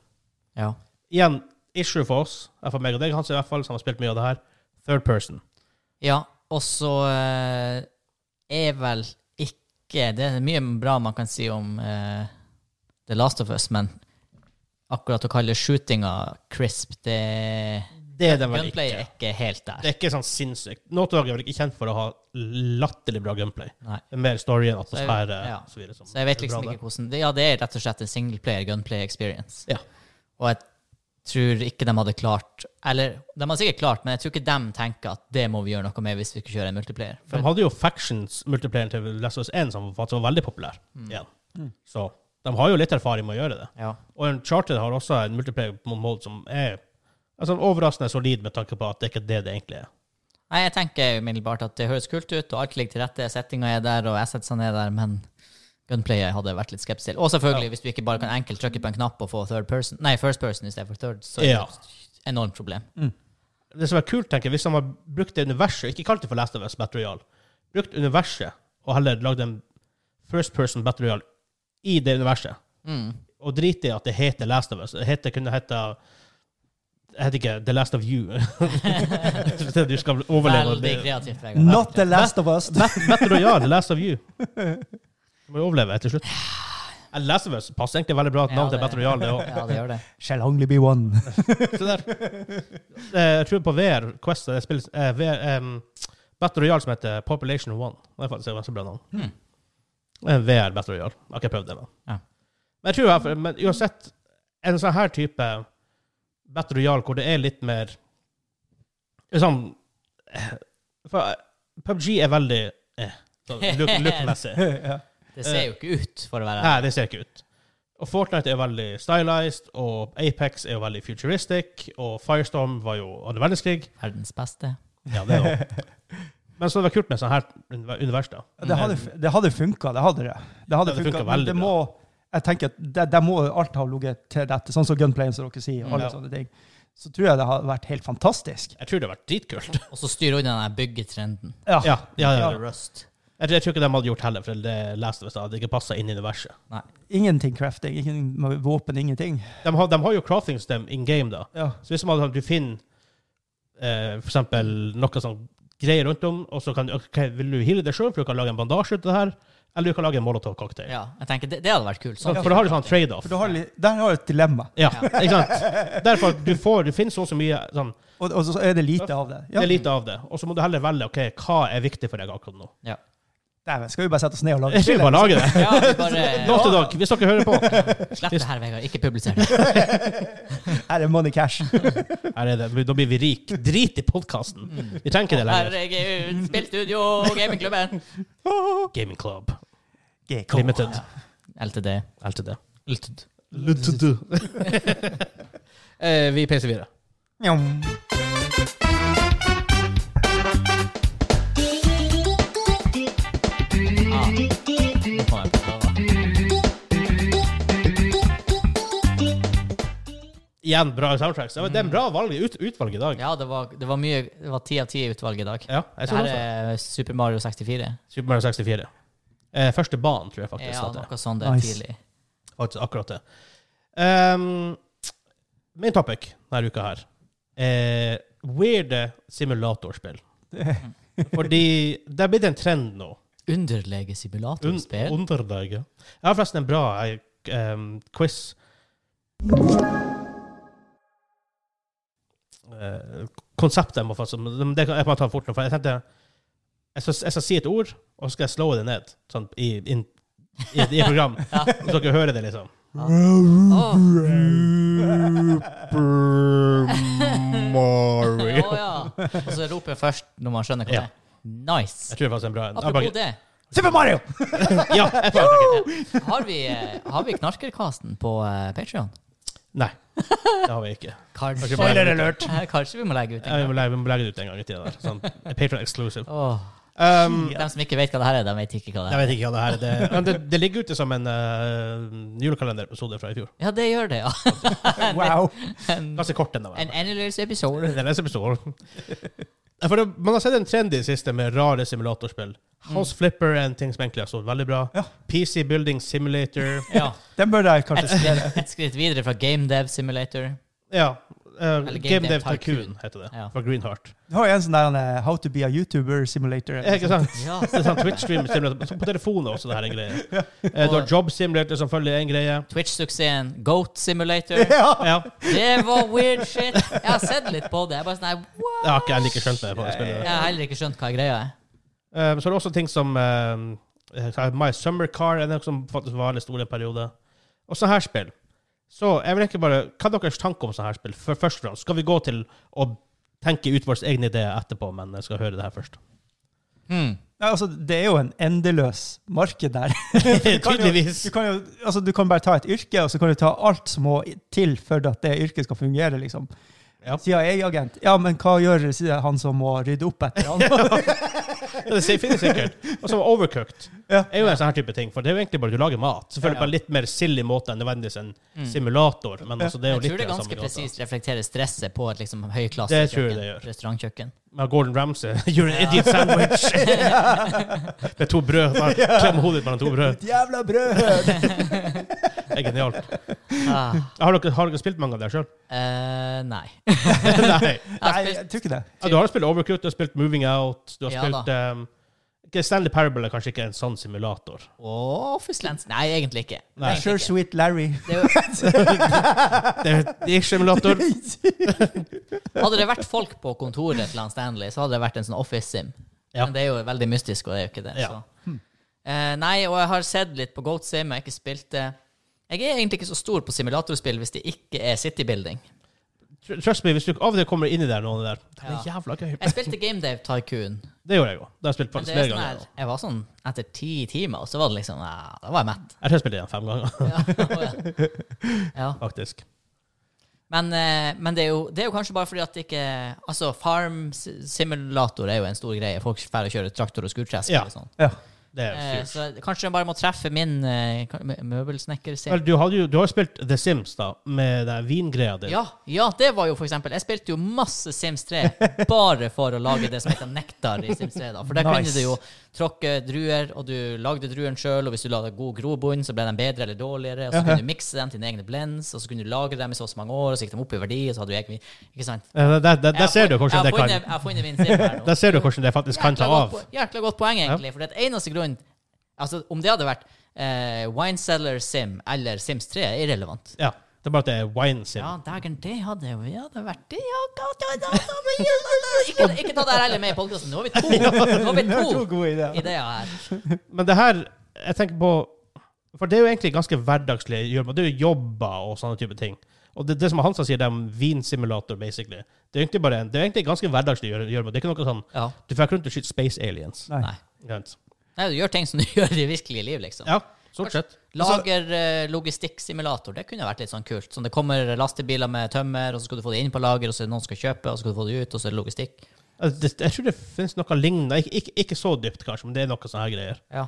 [SPEAKER 2] Ja.
[SPEAKER 1] Igjen, issue for oss, jeg for meg og deg, Hans i hvert fall, som har spilt mye av det her, third person.
[SPEAKER 2] Ja, og så eh, er vel ikke Det er mye bra man kan si om eh, The Last of Us, men akkurat å kalle shootinga crisp, det
[SPEAKER 1] Det er den vel
[SPEAKER 2] Gunplay er
[SPEAKER 1] ikke.
[SPEAKER 2] ikke helt der.
[SPEAKER 1] Det er ikke sånn sinnssykt. Nå til dagen er vel ikke kjent for å ha latterlig bra gunplay.
[SPEAKER 2] Nei.
[SPEAKER 1] Det er mer story enn
[SPEAKER 2] Så jeg-
[SPEAKER 1] atmosfære.
[SPEAKER 2] ja.
[SPEAKER 1] og Så, videre som
[SPEAKER 2] Så jeg vet
[SPEAKER 1] er bra
[SPEAKER 2] liksom
[SPEAKER 1] der.
[SPEAKER 2] ikke hvordan det, Ja, det er rett og slett en singleplayer gunplay experience.
[SPEAKER 1] Ja.
[SPEAKER 2] Og jeg tror ikke de hadde klart Eller de hadde sikkert klart, men jeg tror ikke de tenker at det må vi gjøre noe med hvis vi skal kjøre en multiplayer.
[SPEAKER 1] For de
[SPEAKER 2] For,
[SPEAKER 1] hadde jo Factions multiplayeren til Last of Us 1 som faktisk var veldig populær. igjen. Så de har jo litt erfaring med å gjøre det.
[SPEAKER 2] ja.
[SPEAKER 1] Og en charter har også en multiplayer mode som er altså, overraskende solid med tanke på at det ikke er det det egentlig er.
[SPEAKER 2] Nei, jeg tenker umiddelbart at det høres kult ut, og alt ligger til rette, settinga er der, og assetsene er der, men gunplayet hadde jeg vært litt skeptisk til. Og selvfølgelig, hvis du ikke bare kan enkelt trykke på en knapp og få third person, nei, first person i stedet for third, så er det
[SPEAKER 1] Ja. Mm.
[SPEAKER 2] et enormt problem.
[SPEAKER 1] Det som er kult, tenker jeg, hvis de har brukt det universet, ikke kalt det for Last of Us Battle Royale, brukt universet og heller lagd en first person Battle Royale i det universet,
[SPEAKER 2] Mm.
[SPEAKER 1] og drite i at det heter Last of Us. Det heter, kunne hete jeg heter ikke The Last of You. du skal overleve.
[SPEAKER 2] Veldig kreativt, Vegard.
[SPEAKER 3] Not the last of us.
[SPEAKER 1] Battle Royale, Last of You. Du må jo overleve til slutt. Eller Last of Us passer egentlig veldig bra til navnet til Battle Royale. Det også.
[SPEAKER 2] Ja, det gjør det.
[SPEAKER 3] Shall only be one.
[SPEAKER 1] Se der. Eh, Jeg tror på VR Quest det spilles eh, VR, em, Battle Royale som heter Population One. Det er faktisk et ganske bra navn.
[SPEAKER 2] Hmm.
[SPEAKER 1] Det er en VR Battle Royale. Jeg har ikke prøvd det, men.
[SPEAKER 2] Ja.
[SPEAKER 1] Men jeg tror i hvert fall- men uansett, en sånn her type Battle Royale hvor det er litt mer Sånn eh, For PubG er veldig eh, sånn look- look-messig.
[SPEAKER 3] ja.
[SPEAKER 2] Det ser jo ikke ut, for å være
[SPEAKER 1] Nei, det ser ikke ut. Og Fortnite er veldig stylized, og Apex er jo veldig futuristic, og Firestorm var jo andre verdenskrig.
[SPEAKER 2] verdens beste.
[SPEAKER 1] Ja, det også. Men så det var kult med sånn her univer- univers, da.
[SPEAKER 3] Det hadde, det hadde funka, det hadde det. Det hadde
[SPEAKER 1] Det hadde
[SPEAKER 3] funket,
[SPEAKER 1] funket
[SPEAKER 3] men
[SPEAKER 1] veldig
[SPEAKER 3] det må, jeg tenker at det, det må alt ha ligget til dette, sånn som gunplayen, som dere sier. og
[SPEAKER 1] Ja.
[SPEAKER 3] alle sånne ting. Så tror jeg det hadde vært helt fantastisk.
[SPEAKER 1] Jeg tror det hadde vært dritkult.
[SPEAKER 2] Og så styrer unna den der byggetrenden.
[SPEAKER 3] Ja.
[SPEAKER 1] Ja, ja, ja.
[SPEAKER 3] Ja.
[SPEAKER 2] Rust.
[SPEAKER 1] Jeg, tror- jeg tror ikke de hadde gjort heller, for det leste vi i stad. Det ikke passet inn i universet.
[SPEAKER 3] Ingenting crafting, ingen våpen, ingenting.
[SPEAKER 1] De har, de har jo crafting-system in game, da.
[SPEAKER 3] Ja.
[SPEAKER 1] Så hvis man, hadde- du finner eh, for eksempel noe sånn greier rundt om, og så kan du ok, Vil du heale deg sjøl, for du kan lage en bandasje ut av det her, eller du kan lage en molotov-cocktail.
[SPEAKER 2] Ja, jeg tenker det, det hadde vært kult. Sånn.
[SPEAKER 1] For da har du sånn trade-off.
[SPEAKER 3] For du har, li- der har du et dilemma,
[SPEAKER 1] Ja, ikke sant? Derfor du får, du finner så og så mye sånn,
[SPEAKER 3] og, og så er det lite av det.
[SPEAKER 1] Det
[SPEAKER 3] Ja.
[SPEAKER 1] er lite av det. Og så må du heller velge ok, hva er viktig for deg akkurat nå.
[SPEAKER 2] Ja.
[SPEAKER 3] Dæven, skal vi bare sette oss ned og lage
[SPEAKER 1] Jeg vil bare lage det.
[SPEAKER 2] Ja, vi bare
[SPEAKER 1] Nå til dag, hvis dere hører på.
[SPEAKER 2] Slett det her, Vegard. Ikke publiser det.
[SPEAKER 3] Her er money cash.
[SPEAKER 1] Her er det. Da blir vi rik. Drit i podkasten. Vi trenger ikke det lenger.
[SPEAKER 2] Herregud, spillstudio, gamingklubben.
[SPEAKER 1] Gaming Club
[SPEAKER 3] GK.
[SPEAKER 1] Limited.
[SPEAKER 2] LTD.
[SPEAKER 1] LTD.
[SPEAKER 2] LTD.
[SPEAKER 1] Eh, Vi peiser videre.
[SPEAKER 3] Njom.
[SPEAKER 2] Ah. Nå kom jeg på det.
[SPEAKER 1] Igjen bra soundtracks. Det var- Det er en bra valg, ut, utvalg i dag.
[SPEAKER 2] Ja, det var, det var mye Det var ti av ti utvalg i dag.
[SPEAKER 1] Ja, jeg
[SPEAKER 2] Det
[SPEAKER 1] tror
[SPEAKER 2] her
[SPEAKER 1] det også.
[SPEAKER 2] er Super Mario 64.
[SPEAKER 1] Super Mario 64. Eh, Første banen, tror jeg faktisk.
[SPEAKER 2] Ja,
[SPEAKER 1] at det er.
[SPEAKER 2] noe sånt det er
[SPEAKER 3] Nice.
[SPEAKER 2] tidlig.
[SPEAKER 1] Faktisk akkurat det. Ehm, min topic denne uka her er weirde simulatorspill. Fordi det er blitt en trend nå. Un
[SPEAKER 2] Underlegesimulatorspill.
[SPEAKER 1] Underlege. Jeg har forresten en bra eh, um, quiz. Eh, konseptet må faktisk men det kan, Jeg må ta det fort nå, for jeg tenkte jeg skal, jeg skal si et ord, og så skal jeg slå det ned sånn, i, inn- i, i program. Så dere hører det, liksom.
[SPEAKER 2] Åh.
[SPEAKER 1] Mario.
[SPEAKER 2] Å ja. Og så roper jeg først når man skjønner hva det
[SPEAKER 1] Ja.
[SPEAKER 2] er. Nice.
[SPEAKER 1] Jeg tror det faktisk er en bra en. Jeg
[SPEAKER 2] Apropos det,
[SPEAKER 3] Super Mario!
[SPEAKER 1] bare- Ja, jeg tror det.
[SPEAKER 2] har vi, eh, har vi Knarkerkasten på uh, Patrion?
[SPEAKER 1] Nei, det har vi ikke.
[SPEAKER 2] Kanskje,
[SPEAKER 1] Spoiler alert.
[SPEAKER 2] Eh, Kanskje vi må legge ut
[SPEAKER 1] Jeg
[SPEAKER 2] en
[SPEAKER 1] må
[SPEAKER 2] gang.
[SPEAKER 1] legge, vi må legge det ut en gang i tida. der. Sånn, Patron exclusive.
[SPEAKER 2] Åh.
[SPEAKER 1] Um,
[SPEAKER 2] De som ikke vet hva det her er, de vet ikke hva det
[SPEAKER 1] jeg
[SPEAKER 2] er.
[SPEAKER 1] vet ikke hva det her er. Det, men det, det ligger ute som en uh, julekalenderepisode fra i fjor.
[SPEAKER 2] Ja, det gjør det, ja.
[SPEAKER 3] Wow.
[SPEAKER 2] En,
[SPEAKER 1] Ganske kort den da.
[SPEAKER 2] en endeløs episode.
[SPEAKER 1] Det er en episode. Ja, For det, man har sett en trend i det siste med rare simulatorspill.
[SPEAKER 2] Mm.
[SPEAKER 1] House Flipper er en ting som egentlig har stått veldig bra.
[SPEAKER 3] Ja.
[SPEAKER 1] PC Building Simulator.
[SPEAKER 2] Ja.
[SPEAKER 3] Den burde jeg
[SPEAKER 2] Et
[SPEAKER 3] kanskje
[SPEAKER 2] skritt, et skritt videre fra Game Dev Simulator.
[SPEAKER 1] Ja. eh,
[SPEAKER 2] Game
[SPEAKER 1] Game Dev
[SPEAKER 2] Dev
[SPEAKER 1] Tycoon
[SPEAKER 2] Tycoon.
[SPEAKER 1] heter det,
[SPEAKER 2] Ja.
[SPEAKER 1] fra Greenheart.
[SPEAKER 3] Du har jo en sånn der eh, How to be a YouTuber simulator.
[SPEAKER 1] Ja, Ikke sant?
[SPEAKER 2] Ja.
[SPEAKER 1] Det er sånn Twitch-stream simulator. Så På telefonen er også, det her er en greie. Eh, Du har Job Simulator, som følger en greie.
[SPEAKER 2] Twitch-suksessen Goat Simulator.
[SPEAKER 3] Ja.
[SPEAKER 1] Ja.
[SPEAKER 2] Det var weird shit. Jeg har sett litt på det. Jeg bare sånn, nei, what?
[SPEAKER 1] Jeg har ikke ennå ikke skjønt det. på det spillet.
[SPEAKER 2] Jeg har heller ikke skjønt hva greia er.
[SPEAKER 1] Eh, Så er det også ting som eh, My Summer Car, er noe som faktisk var en stor periode. Og sånne her spill. Så jeg vil egentlig bare, Hva er deres tanker om sånne her spill? For, først og fremst, Skal vi gå til å tenke ut våre egne ideer etterpå, men jeg skal høre det her først.
[SPEAKER 2] Hmm.
[SPEAKER 3] Nei, altså, det er jo en endeløs marked der.
[SPEAKER 1] Tydeligvis.
[SPEAKER 3] Du kan, jo, altså, du kan bare ta et yrke, og så kan du ta alt som må til for at det yrket skal fungere. liksom.
[SPEAKER 1] Ja.
[SPEAKER 3] Sier jeg agent, ja, men hva gjør sier han som må rydde opp etter han?
[SPEAKER 1] Ja, det finnes sikkert. Og så overcooked.
[SPEAKER 3] Ja.
[SPEAKER 1] er jo en sånn her type ting, for det er jo egentlig bare du lager mat. Selvfølgelig på en litt mer silly måte enn nødvendigvis en simulator, men altså, det er
[SPEAKER 2] Mm. Jeg
[SPEAKER 1] jo litt
[SPEAKER 2] tror det
[SPEAKER 1] av
[SPEAKER 2] ganske
[SPEAKER 1] samme gata.
[SPEAKER 2] presist reflekterer stresset på et liksom, høyklasse
[SPEAKER 1] Det tror jeg det gjør.
[SPEAKER 2] restaurantkjøkken.
[SPEAKER 1] Men Gordon Ramsay gjør en idiot sandwich med to brød. Bare Klem hodet ditt mellom to brød.
[SPEAKER 3] Jævla brød!
[SPEAKER 1] Det er genialt.
[SPEAKER 2] Ah,
[SPEAKER 1] Har dere, har dere spilt mange av det sjøl?
[SPEAKER 2] eh, nei.
[SPEAKER 1] Nei.
[SPEAKER 2] Jeg
[SPEAKER 3] Nei,
[SPEAKER 2] har
[SPEAKER 3] jeg
[SPEAKER 2] spilt
[SPEAKER 3] tror ikke det.
[SPEAKER 1] Ja, du har spilt Overcooked, du har spilt Moving Out, du har
[SPEAKER 2] Ja,
[SPEAKER 1] spilt um, ikke Stanley Parable er kanskje ikke en sånn simulator.
[SPEAKER 2] Office Lens. Nei, egentlig ikke.
[SPEAKER 1] Nei.
[SPEAKER 3] Sure
[SPEAKER 2] Egentlig ikke.
[SPEAKER 3] Sweet Larry.
[SPEAKER 2] Det er jo-
[SPEAKER 1] Det er det er ikke simulator.
[SPEAKER 2] hadde det vært folk på kontoret til han Stanley, så hadde det vært en sånn Office Sim.
[SPEAKER 1] Ja.
[SPEAKER 2] Men det er jo veldig mystisk, og det er jo ikke det.
[SPEAKER 1] Ja.
[SPEAKER 2] Så. Eh, nei, og jeg har sett litt på Goat Sim, jeg har ikke spilt det. Jeg er egentlig ikke så stor på simulatorspill hvis det ikke er citybuilding.
[SPEAKER 1] Tr- Trust me, hvis du av og til kommer inn i der noen der Det er jævla gøy.
[SPEAKER 2] Jeg spilte GameDave Tycoon.
[SPEAKER 1] Det gjorde jeg jo. Det har jeg spilt
[SPEAKER 2] Men
[SPEAKER 1] faktisk
[SPEAKER 2] det er
[SPEAKER 1] flere
[SPEAKER 2] sånn
[SPEAKER 1] ganger.
[SPEAKER 2] her, jeg var sånn etter ti timer, og så var det liksom ja, Da var jeg mett.
[SPEAKER 1] Jeg tror jeg spilte igjen fem ganger,
[SPEAKER 2] Ja. ja.
[SPEAKER 1] faktisk.
[SPEAKER 2] Men, eh, men det, er jo, det er jo kanskje bare fordi at det ikke Altså, farm-simulator er jo en stor greie. Folk drar og kjører traktor og skurtresk.
[SPEAKER 1] Ja.
[SPEAKER 2] og sånn.
[SPEAKER 3] Ja.
[SPEAKER 1] Det er
[SPEAKER 2] Eh,
[SPEAKER 1] jo sykt.
[SPEAKER 2] så kanskje jeg bare må treffe min eh, ka- mø- møbelsnekker sin.
[SPEAKER 1] Vel, Du, hadde jo- du har jo spilt The Sims, da, med den vingreia di.
[SPEAKER 2] Ja, ja, det var jo for eksempel Jeg spilte jo masse Sims 3 bare for å lage det som heter nektar i Sims 3. da For der
[SPEAKER 3] Nice.
[SPEAKER 2] kunne du jo tråkke druer, og du lagde druen sjøl. Og hvis du la det god grobunn, så ble den bedre eller dårligere. Og så kunne du mikse dem til dine egne blends, og så kunne du lagre dem i så og så mange år, og så gikk de opp i verdi, og så hadde du egen Ikke sant?
[SPEAKER 1] Eh, Der, der, der
[SPEAKER 2] Jeg
[SPEAKER 1] ser
[SPEAKER 2] har
[SPEAKER 1] du hvordan
[SPEAKER 2] funnet-
[SPEAKER 1] det kan
[SPEAKER 2] jeg har funnet- Jeg har funnet min Sim her nå.
[SPEAKER 1] Der ser du hvordan det faktisk kan ta
[SPEAKER 2] Jækla
[SPEAKER 1] av.
[SPEAKER 2] godt po- Jækla godt poeng, egentlig. For det er eneste grunn Altså, om det hadde vært eh, Wine Cellar Sim eller Sims 3, er irrelevant.
[SPEAKER 1] Ja, det er bare at det er wine sim.
[SPEAKER 2] Ja, dægen, det hadde jo ja, det hadde vært det. Ja, ga- da- da- da- da- ja, da- da. Ikke, ikke ta det her heller med i podkasten. Nå har vi to, Nå har vi
[SPEAKER 3] Det var to
[SPEAKER 2] to
[SPEAKER 3] gode ideer.
[SPEAKER 2] ideer her.
[SPEAKER 1] Men det her, jeg tenker på For det er jo egentlig ganske hverdagslig gjøremål. Det er jo jobber og sånne type ting. Og det, det som Hansa sier, det er en vinsimulator, basically. Det er jo egentlig bare en, det er egentlig ganske hverdagslig gjøre- gjøremål. Det er ikke noe sånn
[SPEAKER 2] Ja.
[SPEAKER 1] Du får ikke rundt og skyte space aliens.
[SPEAKER 3] Nei.
[SPEAKER 2] Nei.
[SPEAKER 1] Ikke sant?
[SPEAKER 2] Nei, du gjør ting som du gjør i virkelige liv, liksom.
[SPEAKER 1] Ja, stort sett.
[SPEAKER 2] Lager eh, logistikksimulator. Det kunne vært litt sånn kult. Sånn det kommer lastebiler med tømmer, og så skal du få det inn på lager, og så er det noen som skal kjøpe, og så skal du få det ut, og så er det logistikk.
[SPEAKER 1] Altså, det, jeg tror det finnes noe lignende. Ikke, ikke, ikke så dypt, kanskje, men det er noe sånne her greier.
[SPEAKER 2] Ja.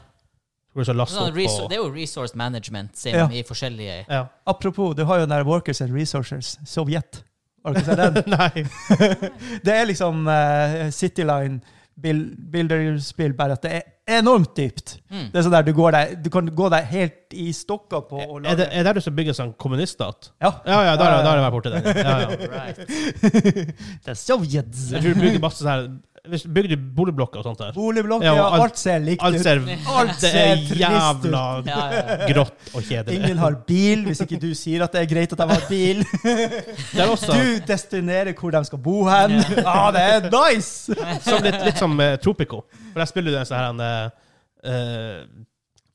[SPEAKER 1] Hvor du skal laste
[SPEAKER 2] Sånn,
[SPEAKER 1] opp
[SPEAKER 2] resor-
[SPEAKER 1] og
[SPEAKER 2] det er jo resource management sim
[SPEAKER 3] Altså, Ja.
[SPEAKER 2] i forskjellige
[SPEAKER 1] ja.
[SPEAKER 3] Apropos, du har jo den der Workers and Resources, Sovjet. Har du ikke sett den?
[SPEAKER 1] Nei.
[SPEAKER 3] Det er liksom eh, City Line, bil- builderspill, bare at det er enormt dypt.
[SPEAKER 1] Mm.
[SPEAKER 3] Det er sånn der du, går deg, du kan gå deg helt i stokker på og
[SPEAKER 1] Er det,
[SPEAKER 3] lage
[SPEAKER 1] er det du som bygger sånn kommuniststat?
[SPEAKER 3] Ja.
[SPEAKER 1] Ja, ja, da har jeg- da har jeg vært borti det. Ja, ja.
[SPEAKER 3] Det er Sovjets
[SPEAKER 1] Jeg tror du bygger masse sånn her Hvis du bygger boligblokker og sånt der
[SPEAKER 3] Boligblokker,
[SPEAKER 1] Ja,
[SPEAKER 3] ja,
[SPEAKER 1] og alt-
[SPEAKER 3] alt ser likt
[SPEAKER 1] Alt
[SPEAKER 3] ut.
[SPEAKER 1] ser
[SPEAKER 3] Alt
[SPEAKER 1] Det
[SPEAKER 3] ser
[SPEAKER 1] er
[SPEAKER 3] trist ut.
[SPEAKER 1] jævla
[SPEAKER 2] Ja, ja, ja.
[SPEAKER 1] grått og kjedelig.
[SPEAKER 3] Ingen har bil, hvis ikke du sier at det er greit at de har bil.
[SPEAKER 1] Det er også
[SPEAKER 3] Du destinerer hvor de skal bo hen. Ja, det er nice!
[SPEAKER 1] som litt, litt som eh, Tropico. For der spiller du en sånn her en, eh,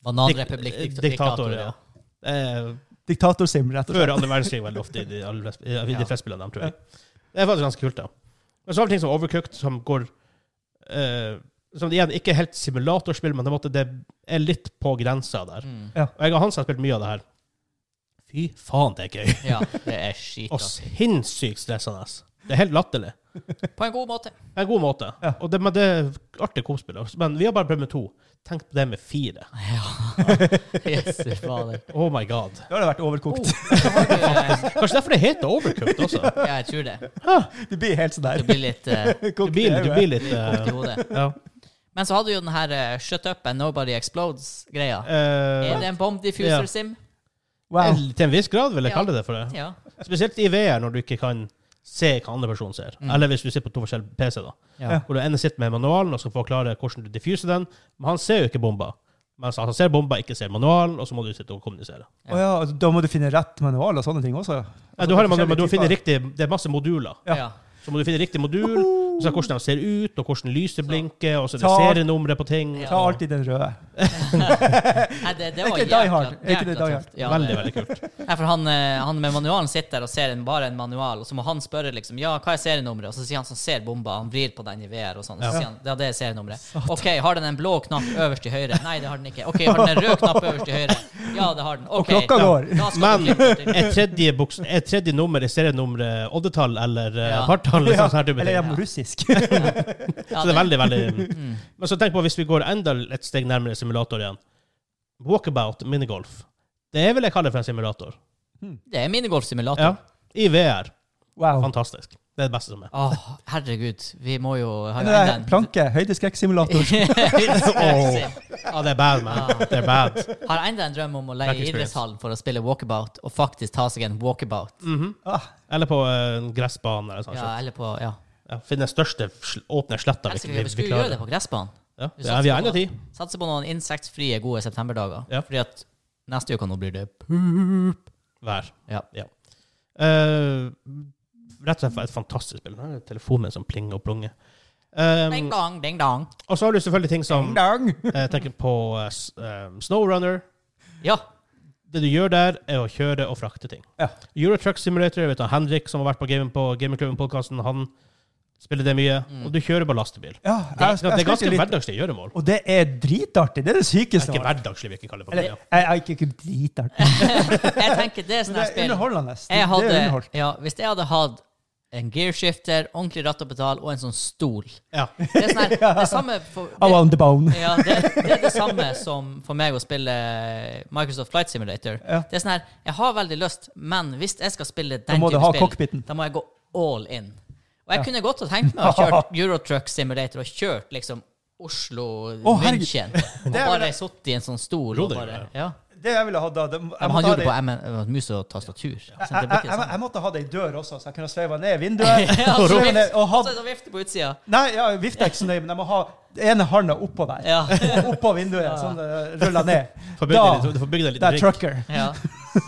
[SPEAKER 2] Bananrepublikk,
[SPEAKER 1] dik-
[SPEAKER 2] diktator,
[SPEAKER 1] diktator. Ja.
[SPEAKER 2] ja.
[SPEAKER 1] Eh,
[SPEAKER 3] Diktatorsim, rett og slett.
[SPEAKER 1] før andre verdenskrig, veldig ofte, i de, aller flest- i de fleste spillene dem, tror jeg. Det er faktisk ganske kult, da. Men så har vi ting som Overcooked, som går eh, Som igjen ikke er helt simulatorspill, men det, måtte, det er litt på grensa der.
[SPEAKER 2] Mm.
[SPEAKER 3] Ja.
[SPEAKER 1] Og jeg og Hans har spilt mye av det her. Fy faen, det er gøy.
[SPEAKER 2] Ja, det er skit. altså.
[SPEAKER 1] Og
[SPEAKER 2] ass.
[SPEAKER 1] sinnssykt stressende. Det er helt latterlig.
[SPEAKER 2] På en god måte.
[SPEAKER 1] En god måte.
[SPEAKER 3] Ja.
[SPEAKER 1] Og det, men det er artig komspill. altså. Men vi har bare prøvd med to. Tenk på det med fire.
[SPEAKER 2] Jesu fader.
[SPEAKER 1] Oh my god.
[SPEAKER 3] Da har det vært overkokt.
[SPEAKER 1] Oh. Kanskje derfor det heter Overcooked også.
[SPEAKER 2] eh, Ja, jeg tror det.
[SPEAKER 3] Du blir helt sånn der.
[SPEAKER 2] Det blir litt eh,
[SPEAKER 1] Du blir, du blir litt
[SPEAKER 2] kokt
[SPEAKER 1] eh,
[SPEAKER 2] i hodet.
[SPEAKER 1] ja.
[SPEAKER 2] Men så hadde du jo den her eh, Shut Up and Nobody Explodes-greia.
[SPEAKER 1] Eh,
[SPEAKER 2] Er det en bomb
[SPEAKER 1] Ja.
[SPEAKER 2] diffuser-sim?
[SPEAKER 3] Wow.
[SPEAKER 1] Til en viss grad vil jeg
[SPEAKER 2] Ja.
[SPEAKER 1] kalle det for det.
[SPEAKER 2] Ja.
[SPEAKER 1] Spesielt i VR, når du ikke kan se hva andre personer ser.
[SPEAKER 3] Mm.
[SPEAKER 1] Eller hvis du sitter på to forskjellige PC, da.
[SPEAKER 2] Ja.
[SPEAKER 1] Hvor du ene sitter med manualen og skal forklare hvordan du diffuser den, men han ser jo ikke bomba. Mens han ser bomba, ikke ser manualen, og så må du sitte og kommunisere.
[SPEAKER 3] Å ja, og da må du finne rett manual og sånne ting også?
[SPEAKER 1] Nei, du har en manual, men du
[SPEAKER 3] Forskjellige
[SPEAKER 1] finner
[SPEAKER 3] typer.
[SPEAKER 1] riktig, det er masse moduler.
[SPEAKER 3] Ja.
[SPEAKER 2] ja.
[SPEAKER 1] Så må du finne riktig modul, og så hvordan de ser ut, og hvordan lyset blinker, og så er det
[SPEAKER 3] Ta-
[SPEAKER 1] serienummeret på ting.
[SPEAKER 2] Ja.
[SPEAKER 3] Ta alltid den røde.
[SPEAKER 2] Nei, det, det
[SPEAKER 3] Er ikke
[SPEAKER 2] var
[SPEAKER 3] det
[SPEAKER 2] jækla-
[SPEAKER 3] Die Hard? Er ikke det
[SPEAKER 2] jækla
[SPEAKER 3] Die Hard?
[SPEAKER 2] tøft. Ja,
[SPEAKER 1] veldig,
[SPEAKER 2] det-
[SPEAKER 1] veldig kult.
[SPEAKER 2] Nei, for han, eh, han med manualen sitter der og ser en, bare en manual, og så må han spørre liksom, ja, hva er serienummeret? Og så sier han som ser bomba, han vrir på den i VR og sånn, og så
[SPEAKER 1] Ja.
[SPEAKER 2] sier han, ja, det er serienummeret. Ok, har den en blå knapp øverst til høyre? Nei, det har den ikke. Ok, har den en rød knapp øverst til høyre? Ja, det har den. Ok,
[SPEAKER 3] klokka
[SPEAKER 2] ja,
[SPEAKER 3] går.
[SPEAKER 2] Da skal
[SPEAKER 1] Men
[SPEAKER 2] du klippe til.
[SPEAKER 1] er tredje, buks, er tredje nummer i serienummeret oddetall eller eh,
[SPEAKER 2] Ja.
[SPEAKER 1] partall? Liksom, sånn her type
[SPEAKER 3] Eller
[SPEAKER 1] ting.
[SPEAKER 3] jeg må russisk.
[SPEAKER 2] Ja, Mm.
[SPEAKER 1] Så det er veldig, veldig Men så tenk på hvis vi går enda et steg nærmere simulator igjen. Walkabout minigolf. Det vil jeg kalle for en simulator.
[SPEAKER 2] det er minigolfsimulator.
[SPEAKER 1] Ja. I VR.
[SPEAKER 3] Wow.
[SPEAKER 1] Fantastisk. Det er det beste som er.
[SPEAKER 2] Åh, herregud, vi må jo ha
[SPEAKER 3] Men
[SPEAKER 2] jo
[SPEAKER 3] det er
[SPEAKER 2] enda en-
[SPEAKER 3] planke, høydeskrekksimulator.
[SPEAKER 1] Åh. Ja, det er bad, man. Det er bad.
[SPEAKER 2] Har enda en drøm om å leie
[SPEAKER 1] Back experience.
[SPEAKER 2] idrettshallen for å spille walkabout, og faktisk ta seg en walkabout.
[SPEAKER 3] Ah,
[SPEAKER 1] Eller på eh, en gressbane. Eller sånn.
[SPEAKER 2] Ja, eller på, ja.
[SPEAKER 1] Ja, Finne den største sl- åpne sletta vi,
[SPEAKER 2] Elsker
[SPEAKER 1] vi,
[SPEAKER 2] vi
[SPEAKER 1] vi
[SPEAKER 2] skulle gjøre det
[SPEAKER 1] klarer.
[SPEAKER 2] på gressbanen.
[SPEAKER 1] Ja,
[SPEAKER 2] Vi
[SPEAKER 1] det er, vi har
[SPEAKER 2] satser
[SPEAKER 1] ennå
[SPEAKER 2] på
[SPEAKER 1] tid.
[SPEAKER 2] noen- Satser på noen insektfrie, gode septemberdager.
[SPEAKER 1] Ja.
[SPEAKER 2] Fordi at neste uke nå blir det pup.
[SPEAKER 1] Hver.
[SPEAKER 2] Ja.
[SPEAKER 1] Eh, rett og slett et fantastisk spill. Her er Telefonen min som plinger og plunger. Eh,
[SPEAKER 2] Ding dong, ding dong.
[SPEAKER 1] og så har du selvfølgelig ting som
[SPEAKER 3] dang.
[SPEAKER 1] Jeg tenker på eh, s- eh, Snowrunner.
[SPEAKER 2] Ja.
[SPEAKER 1] Det du gjør der, er å kjøre og frakte ting.
[SPEAKER 3] Ja.
[SPEAKER 1] Eurotruck Simulator, jeg vet du, Henrik som har vært på Gaming på Gamingklubben-podkasten, han spiller det mye. Og du kjører på lastebil.
[SPEAKER 3] Ja,
[SPEAKER 1] Det,
[SPEAKER 3] jeg, jeg,
[SPEAKER 1] det er
[SPEAKER 3] spilte
[SPEAKER 1] ganske
[SPEAKER 3] litt,
[SPEAKER 1] hverdagslige gjøremål.
[SPEAKER 3] og det er dritartig. Det er
[SPEAKER 1] Det
[SPEAKER 3] det sykeste.
[SPEAKER 1] er ikke
[SPEAKER 3] jeg har.
[SPEAKER 1] hverdagslig, vi ikke kaller det for
[SPEAKER 3] Eller,
[SPEAKER 1] det. Ja.
[SPEAKER 3] jeg, jeg, ikke, ikke dritartig.
[SPEAKER 2] Jeg tenker det er sånn
[SPEAKER 3] Men det
[SPEAKER 2] her
[SPEAKER 3] er
[SPEAKER 2] spill.
[SPEAKER 3] underholdende. Det
[SPEAKER 2] Jeg
[SPEAKER 3] er
[SPEAKER 2] hadde,
[SPEAKER 3] underholdt.
[SPEAKER 2] ja, hvis jeg hadde hatt en gearshifter, ordentlig ratt og pedal og en sånn stol
[SPEAKER 1] Ja.
[SPEAKER 2] Det er sånn her, det er samme for,
[SPEAKER 3] Oh,
[SPEAKER 2] det,
[SPEAKER 3] on the bone.
[SPEAKER 2] ja, det, det er det samme som for meg å spille Microsoft Flight Simulator.
[SPEAKER 3] Ja.
[SPEAKER 2] Det er sånn her, Jeg har veldig lyst, men hvis jeg skal spille den
[SPEAKER 3] Da må du
[SPEAKER 2] type
[SPEAKER 3] ha
[SPEAKER 2] spill,
[SPEAKER 3] cockpiten.
[SPEAKER 2] Da må jeg gå all in. Og jeg kunne godt ha tenkt meg å kjøre Eurotruck Simulator og kjørt liksom Oslo,
[SPEAKER 3] Å, herregud.
[SPEAKER 2] München. Og
[SPEAKER 3] Det er vel
[SPEAKER 2] bare
[SPEAKER 3] det-
[SPEAKER 2] sittet i en sånn stol
[SPEAKER 1] Ro
[SPEAKER 2] og
[SPEAKER 1] deg,
[SPEAKER 2] bare
[SPEAKER 1] ja.
[SPEAKER 2] ja.
[SPEAKER 3] Det jeg ville hatt da det- jeg
[SPEAKER 2] Men
[SPEAKER 3] måtte
[SPEAKER 2] han
[SPEAKER 3] ha
[SPEAKER 2] gjorde
[SPEAKER 3] det-
[SPEAKER 2] det på M- mus og tastatur. Så det
[SPEAKER 3] jeg,
[SPEAKER 2] blir
[SPEAKER 3] jeg,
[SPEAKER 2] ikke
[SPEAKER 3] jeg,
[SPEAKER 2] sånn.
[SPEAKER 3] jeg måtte ha det i dør også, så jeg kunne sveiva ned vinduet.
[SPEAKER 2] Ja,
[SPEAKER 3] og
[SPEAKER 2] så
[SPEAKER 3] sveiva ned,
[SPEAKER 2] vift-
[SPEAKER 3] og
[SPEAKER 2] og
[SPEAKER 3] hatt
[SPEAKER 2] så er det vifte på utsida.
[SPEAKER 3] Nei, ja, vifta er ikke så nøye, men jeg må ha ene handa oppå der.
[SPEAKER 2] Ja.
[SPEAKER 3] Og oppå vinduet, sånn det ruller ned.
[SPEAKER 1] Får bygge deg
[SPEAKER 3] Da,
[SPEAKER 1] litt- Du får bygge deg litt
[SPEAKER 3] det er
[SPEAKER 1] rigg.
[SPEAKER 3] trucker.
[SPEAKER 2] ja.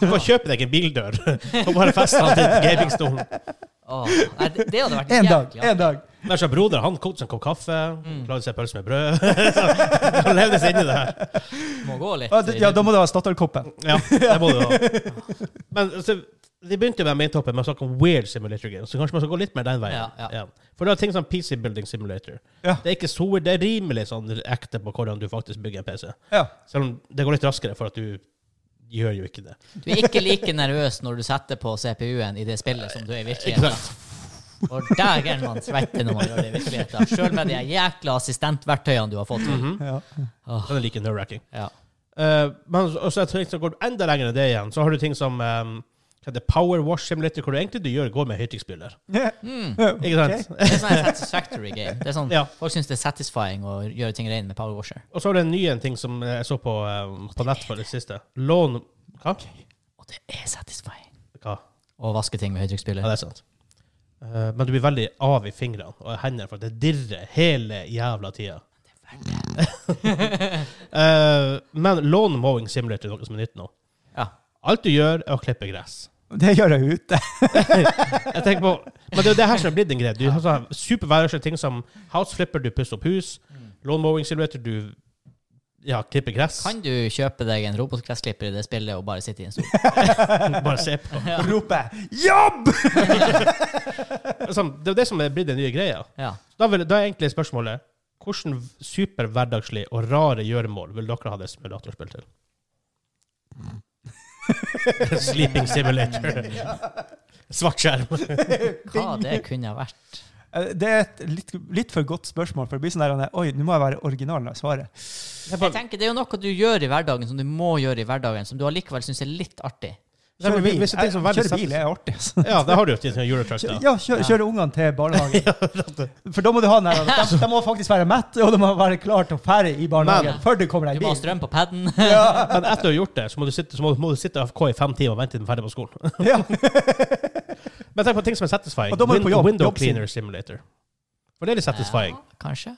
[SPEAKER 1] Du får kjøpe deg en bildør og bare feste den til gamingstolen.
[SPEAKER 2] Åh, nei, det det hadde vært
[SPEAKER 3] En dag.
[SPEAKER 2] jæklig.
[SPEAKER 3] En dag.
[SPEAKER 1] Der så broder han kokte seg en kopp kaffe, lagde seg pølse med brød. Så Han levde seg inn i det her.
[SPEAKER 2] Må gå litt.
[SPEAKER 3] Ja, det- Ja, da må det være Statoil-koppen.
[SPEAKER 1] Ja, det må du ha. Men altså, vi begynte med maintoppet med å snakke om weird simulator games, så kanskje man skal gå litt mer den veien.
[SPEAKER 2] Ja, ja.
[SPEAKER 1] For det er ting som PC building simulator.
[SPEAKER 3] Ja.
[SPEAKER 1] Det er ikke så weird, det er rimelig sånn ekte på hvordan du faktisk bygger en PC.
[SPEAKER 3] Ja.
[SPEAKER 1] Selv om det går litt raskere, for at du gjør jo ikke det.
[SPEAKER 2] Du er ikke like nervøs når du setter på CPU-en i det spillet som du er i virkeligheten. Og dægen, man svetter når man gjør det i virkeligheten. Sjøl med de jækla assistentverktøyene du har fått.
[SPEAKER 1] Mhm.
[SPEAKER 2] til.
[SPEAKER 3] ja.
[SPEAKER 1] Den er like nerve-wracking.
[SPEAKER 2] Ja.
[SPEAKER 1] Eh, men også jeg tenker, så går det enda lenger enn det igjen. Så har du ting som um, hva heter det, Power Wash Simulator, hvor du egentlig du gjør, går med høytrykksspyler. Ikke sant?
[SPEAKER 2] Det er sånn en satisfactory game. Det er sånn,
[SPEAKER 1] Ja.
[SPEAKER 2] Folk syns det er satisfying å gjøre ting rein med power washer.
[SPEAKER 1] Og så har du en ny en ting som jeg så på, um, på nett for det siste. Lån Hva?
[SPEAKER 2] Og det er satisfying
[SPEAKER 1] Hva?
[SPEAKER 2] å vaske ting med
[SPEAKER 1] Ja, det
[SPEAKER 2] høytrykksspyler.
[SPEAKER 1] er sant. Eh, men du blir veldig av i fingrene og hendene, for det dirrer hele jævla tida. Eh, men lawn mowing simulator er noe som er nytt nå.
[SPEAKER 2] Ja.
[SPEAKER 1] Alt du gjør, er å klippe gress.
[SPEAKER 3] Det gjør jeg ute.
[SPEAKER 1] Jeg tenker på, men det er jo det her som er blitt en greie. Du har sånn superværslige ting som house flipper, du pusser opp hus. Lawn mowing simulator, du ja, klipper gress.
[SPEAKER 2] Kan du kjøpe deg en robotgressklipper i det spillet og bare sitte i en stol?
[SPEAKER 1] Bare se på.
[SPEAKER 3] Roper 'jobb'!
[SPEAKER 1] Sånn, Det er jo det som er blitt den nye greia.
[SPEAKER 2] Ja.
[SPEAKER 1] Da, vil, da er egentlig spørsmålet hvordan superhverdagslig og rare gjøremål vil dere ha det simulatorspill til? Sleeping simulator. Svart skjerm.
[SPEAKER 2] Hva det kunne ha vært?
[SPEAKER 3] Eh, Det er et litt, litt for godt spørsmål, for det blir sånn der Oi, nå må jeg være original når jeg svarer.
[SPEAKER 2] Jeg tenker Det er jo noe du gjør i hverdagen som du må gjøre i hverdagen, som du allikevel syns er litt artig.
[SPEAKER 1] Nei, men
[SPEAKER 3] Kjøre
[SPEAKER 1] vi-
[SPEAKER 3] bil,
[SPEAKER 1] hvis det er ting som
[SPEAKER 3] Jeg-
[SPEAKER 1] veldig
[SPEAKER 3] kjøre bil
[SPEAKER 1] settes-
[SPEAKER 3] er artig. altså.
[SPEAKER 1] Ja, der har du jo til Eurotruck, da.
[SPEAKER 3] Ja, kjøre, kjøre ungene til barnehagen. For da må du ha den der, de, de må faktisk være mette, og de må være klare til å ferde i barnehagen
[SPEAKER 2] Men-
[SPEAKER 3] før det kommer
[SPEAKER 2] Du
[SPEAKER 3] deg
[SPEAKER 2] må ha
[SPEAKER 3] bil.
[SPEAKER 2] strøm på paden.
[SPEAKER 1] Men etter å ha gjort det, så må du sitte, så må, må du sitte AFK i fem timer og vente til den er ferdig på skolen.
[SPEAKER 3] Ja.
[SPEAKER 1] Men tenk på ting som er satisfying.
[SPEAKER 3] Og da må du på jobb.
[SPEAKER 1] Window
[SPEAKER 3] Jobb sin.
[SPEAKER 1] cleaner simulator. For det er litt satisfying.
[SPEAKER 2] Ja, kanskje.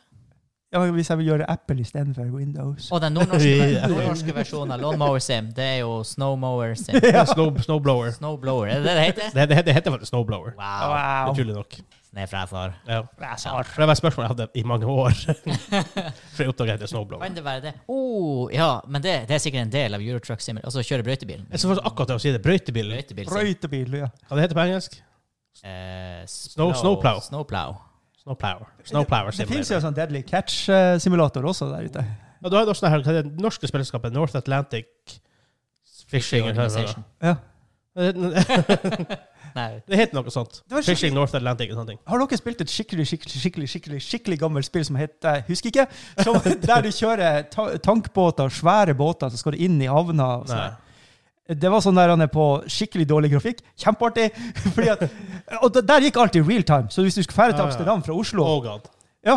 [SPEAKER 3] ja, men Hvis jeg vil gjøre Apple istedenfor Windows.
[SPEAKER 2] Og den nordnorske, nordnorske versjonen av lawnmower sim, det er jo snowmower sim.
[SPEAKER 1] Snow, snowblower.
[SPEAKER 2] Snowblower, er det det det heter?
[SPEAKER 1] Det, det, det heter faktisk snowblower.
[SPEAKER 2] Wow.
[SPEAKER 3] Wow.
[SPEAKER 1] Utrolig nok.
[SPEAKER 2] Snøfreser.
[SPEAKER 1] Ja.
[SPEAKER 3] Rasar.
[SPEAKER 1] For det var et spørsmål jeg hadde i mange år. For jeg oppdaget at det er snowblower.
[SPEAKER 2] Kan det være det? Oh, ja, men det, det er sikkert en del av Eurotruck Simmer. Altså kjøre brøytebil.
[SPEAKER 1] Jeg synes faktisk akkurat det å si det. Brøytebil.
[SPEAKER 2] Brøytebil sim.
[SPEAKER 3] Brøytebil, ja.
[SPEAKER 1] Hva det heter det på engelsk?
[SPEAKER 2] Eh,
[SPEAKER 1] Snow- snowplow.
[SPEAKER 2] Snowplow.
[SPEAKER 1] Snowplower. Snowplower
[SPEAKER 3] Det finnes
[SPEAKER 1] simulator.
[SPEAKER 3] jo en sånn Deadly Catch-simulator også der ute.
[SPEAKER 1] Ja, du har jo også denne her, hva er det norske spilleskapet North Atlantic Fishing
[SPEAKER 2] Organization.
[SPEAKER 3] Ja.
[SPEAKER 1] Det
[SPEAKER 2] Nei,
[SPEAKER 1] heter noe sånt.
[SPEAKER 3] Det var skikkelig-
[SPEAKER 1] Fishing North Atlantic eller sånne ting.
[SPEAKER 3] Har dere spilt et skikkelig skikkelig, skikkelig, skikkelig, skikkelig gammelt spill som heter jeg Husker ikke. Som, der du kjører ta tankbåter, svære båter, så skal du inn i havna. og sånn
[SPEAKER 1] Nei.
[SPEAKER 3] der. Det var sånn der han er på skikkelig dårlig grafikk. Kjempeartig. Fordi at, og det- der gikk alt i real time. Så hvis du skulle fære
[SPEAKER 1] Ja,
[SPEAKER 3] til
[SPEAKER 1] ja.
[SPEAKER 3] Amsterdam fra Oslo,
[SPEAKER 1] Oh god.
[SPEAKER 3] Ja,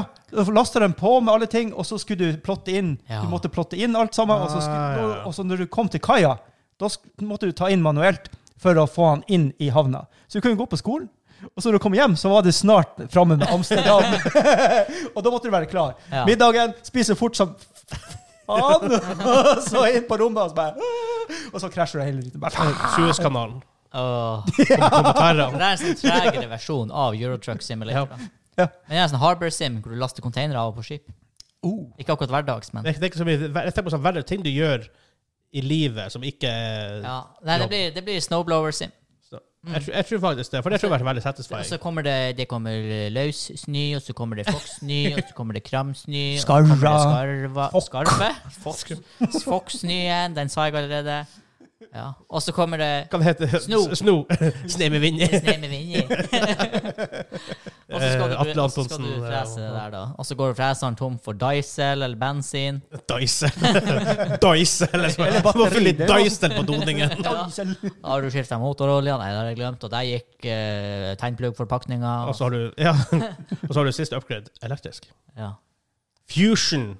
[SPEAKER 3] lasta dem på med alle ting, og så skulle du plotte inn
[SPEAKER 2] Ja.
[SPEAKER 3] Du måtte plotte inn alt sammen, og så,
[SPEAKER 1] Ah,
[SPEAKER 3] skulle,
[SPEAKER 1] ja, ja.
[SPEAKER 3] og så når du kom til kaia, da sk- måtte du ta inn manuelt for å få han inn i havna. Så du kunne gå på skolen, og så når du kom hjem, så var det snart framme med Amsterdam. og da måtte du være klar.
[SPEAKER 2] Ja.
[SPEAKER 3] Middagen, spise fort som faen, og så inn på rommet, og så bare Og så krasjer du hele tiden. Bare,
[SPEAKER 1] Suezkanalen.
[SPEAKER 2] åh. Det
[SPEAKER 3] Ah.
[SPEAKER 1] Kommentarene.
[SPEAKER 2] er en sånn tregere versjon av Eurotruck Simulator. da.
[SPEAKER 3] Ja.
[SPEAKER 2] Men det er en sånn Harbor Sim hvor du laster containere av og på skip.
[SPEAKER 3] oh.
[SPEAKER 2] Ikke akkurat hverdags, men
[SPEAKER 1] Det er, det er ikke så mye Jeg tenker på sånn verre ting du gjør i livet som ikke er
[SPEAKER 2] ja. Nei, det blir, det blir Snowblower Sim.
[SPEAKER 1] så,
[SPEAKER 3] Mm.
[SPEAKER 1] jeg, tror- jeg tror faktisk det, for det tror jeg er veldig
[SPEAKER 2] Og så
[SPEAKER 1] satisfying.
[SPEAKER 2] kommer det, det kommer løssnø, og så kommer det fokssnø, og så kommer det kramsnø og så
[SPEAKER 3] Skarva.
[SPEAKER 2] kommer det Skarva. Skarve? Foks- Fokssnøen, den sa jeg allerede. Ja. Og så kommer det
[SPEAKER 1] Hva det heter det?
[SPEAKER 2] Sno.
[SPEAKER 1] Sno. Sne med vind.
[SPEAKER 2] snø med vind i. Og så skal
[SPEAKER 1] Eh, Atle
[SPEAKER 2] du- og så skal
[SPEAKER 1] Antonsen,
[SPEAKER 2] du
[SPEAKER 1] ja.
[SPEAKER 2] frese det der, da. Og så går freseren tom for diesel eller bensin.
[SPEAKER 1] Dice. Dice, eller så.
[SPEAKER 3] Eller
[SPEAKER 1] Må fylle litt
[SPEAKER 3] batteri, det sånn er jo-
[SPEAKER 1] Dice på doningen.
[SPEAKER 2] Ja. Har du skifta motorolja? Nei, det har jeg glemt. Og der gikk eh, tennpluggforpakninga.
[SPEAKER 1] Og så har du ja. Og så har du siste upgrade. Elektrisk.
[SPEAKER 2] Ja.
[SPEAKER 1] Fusion.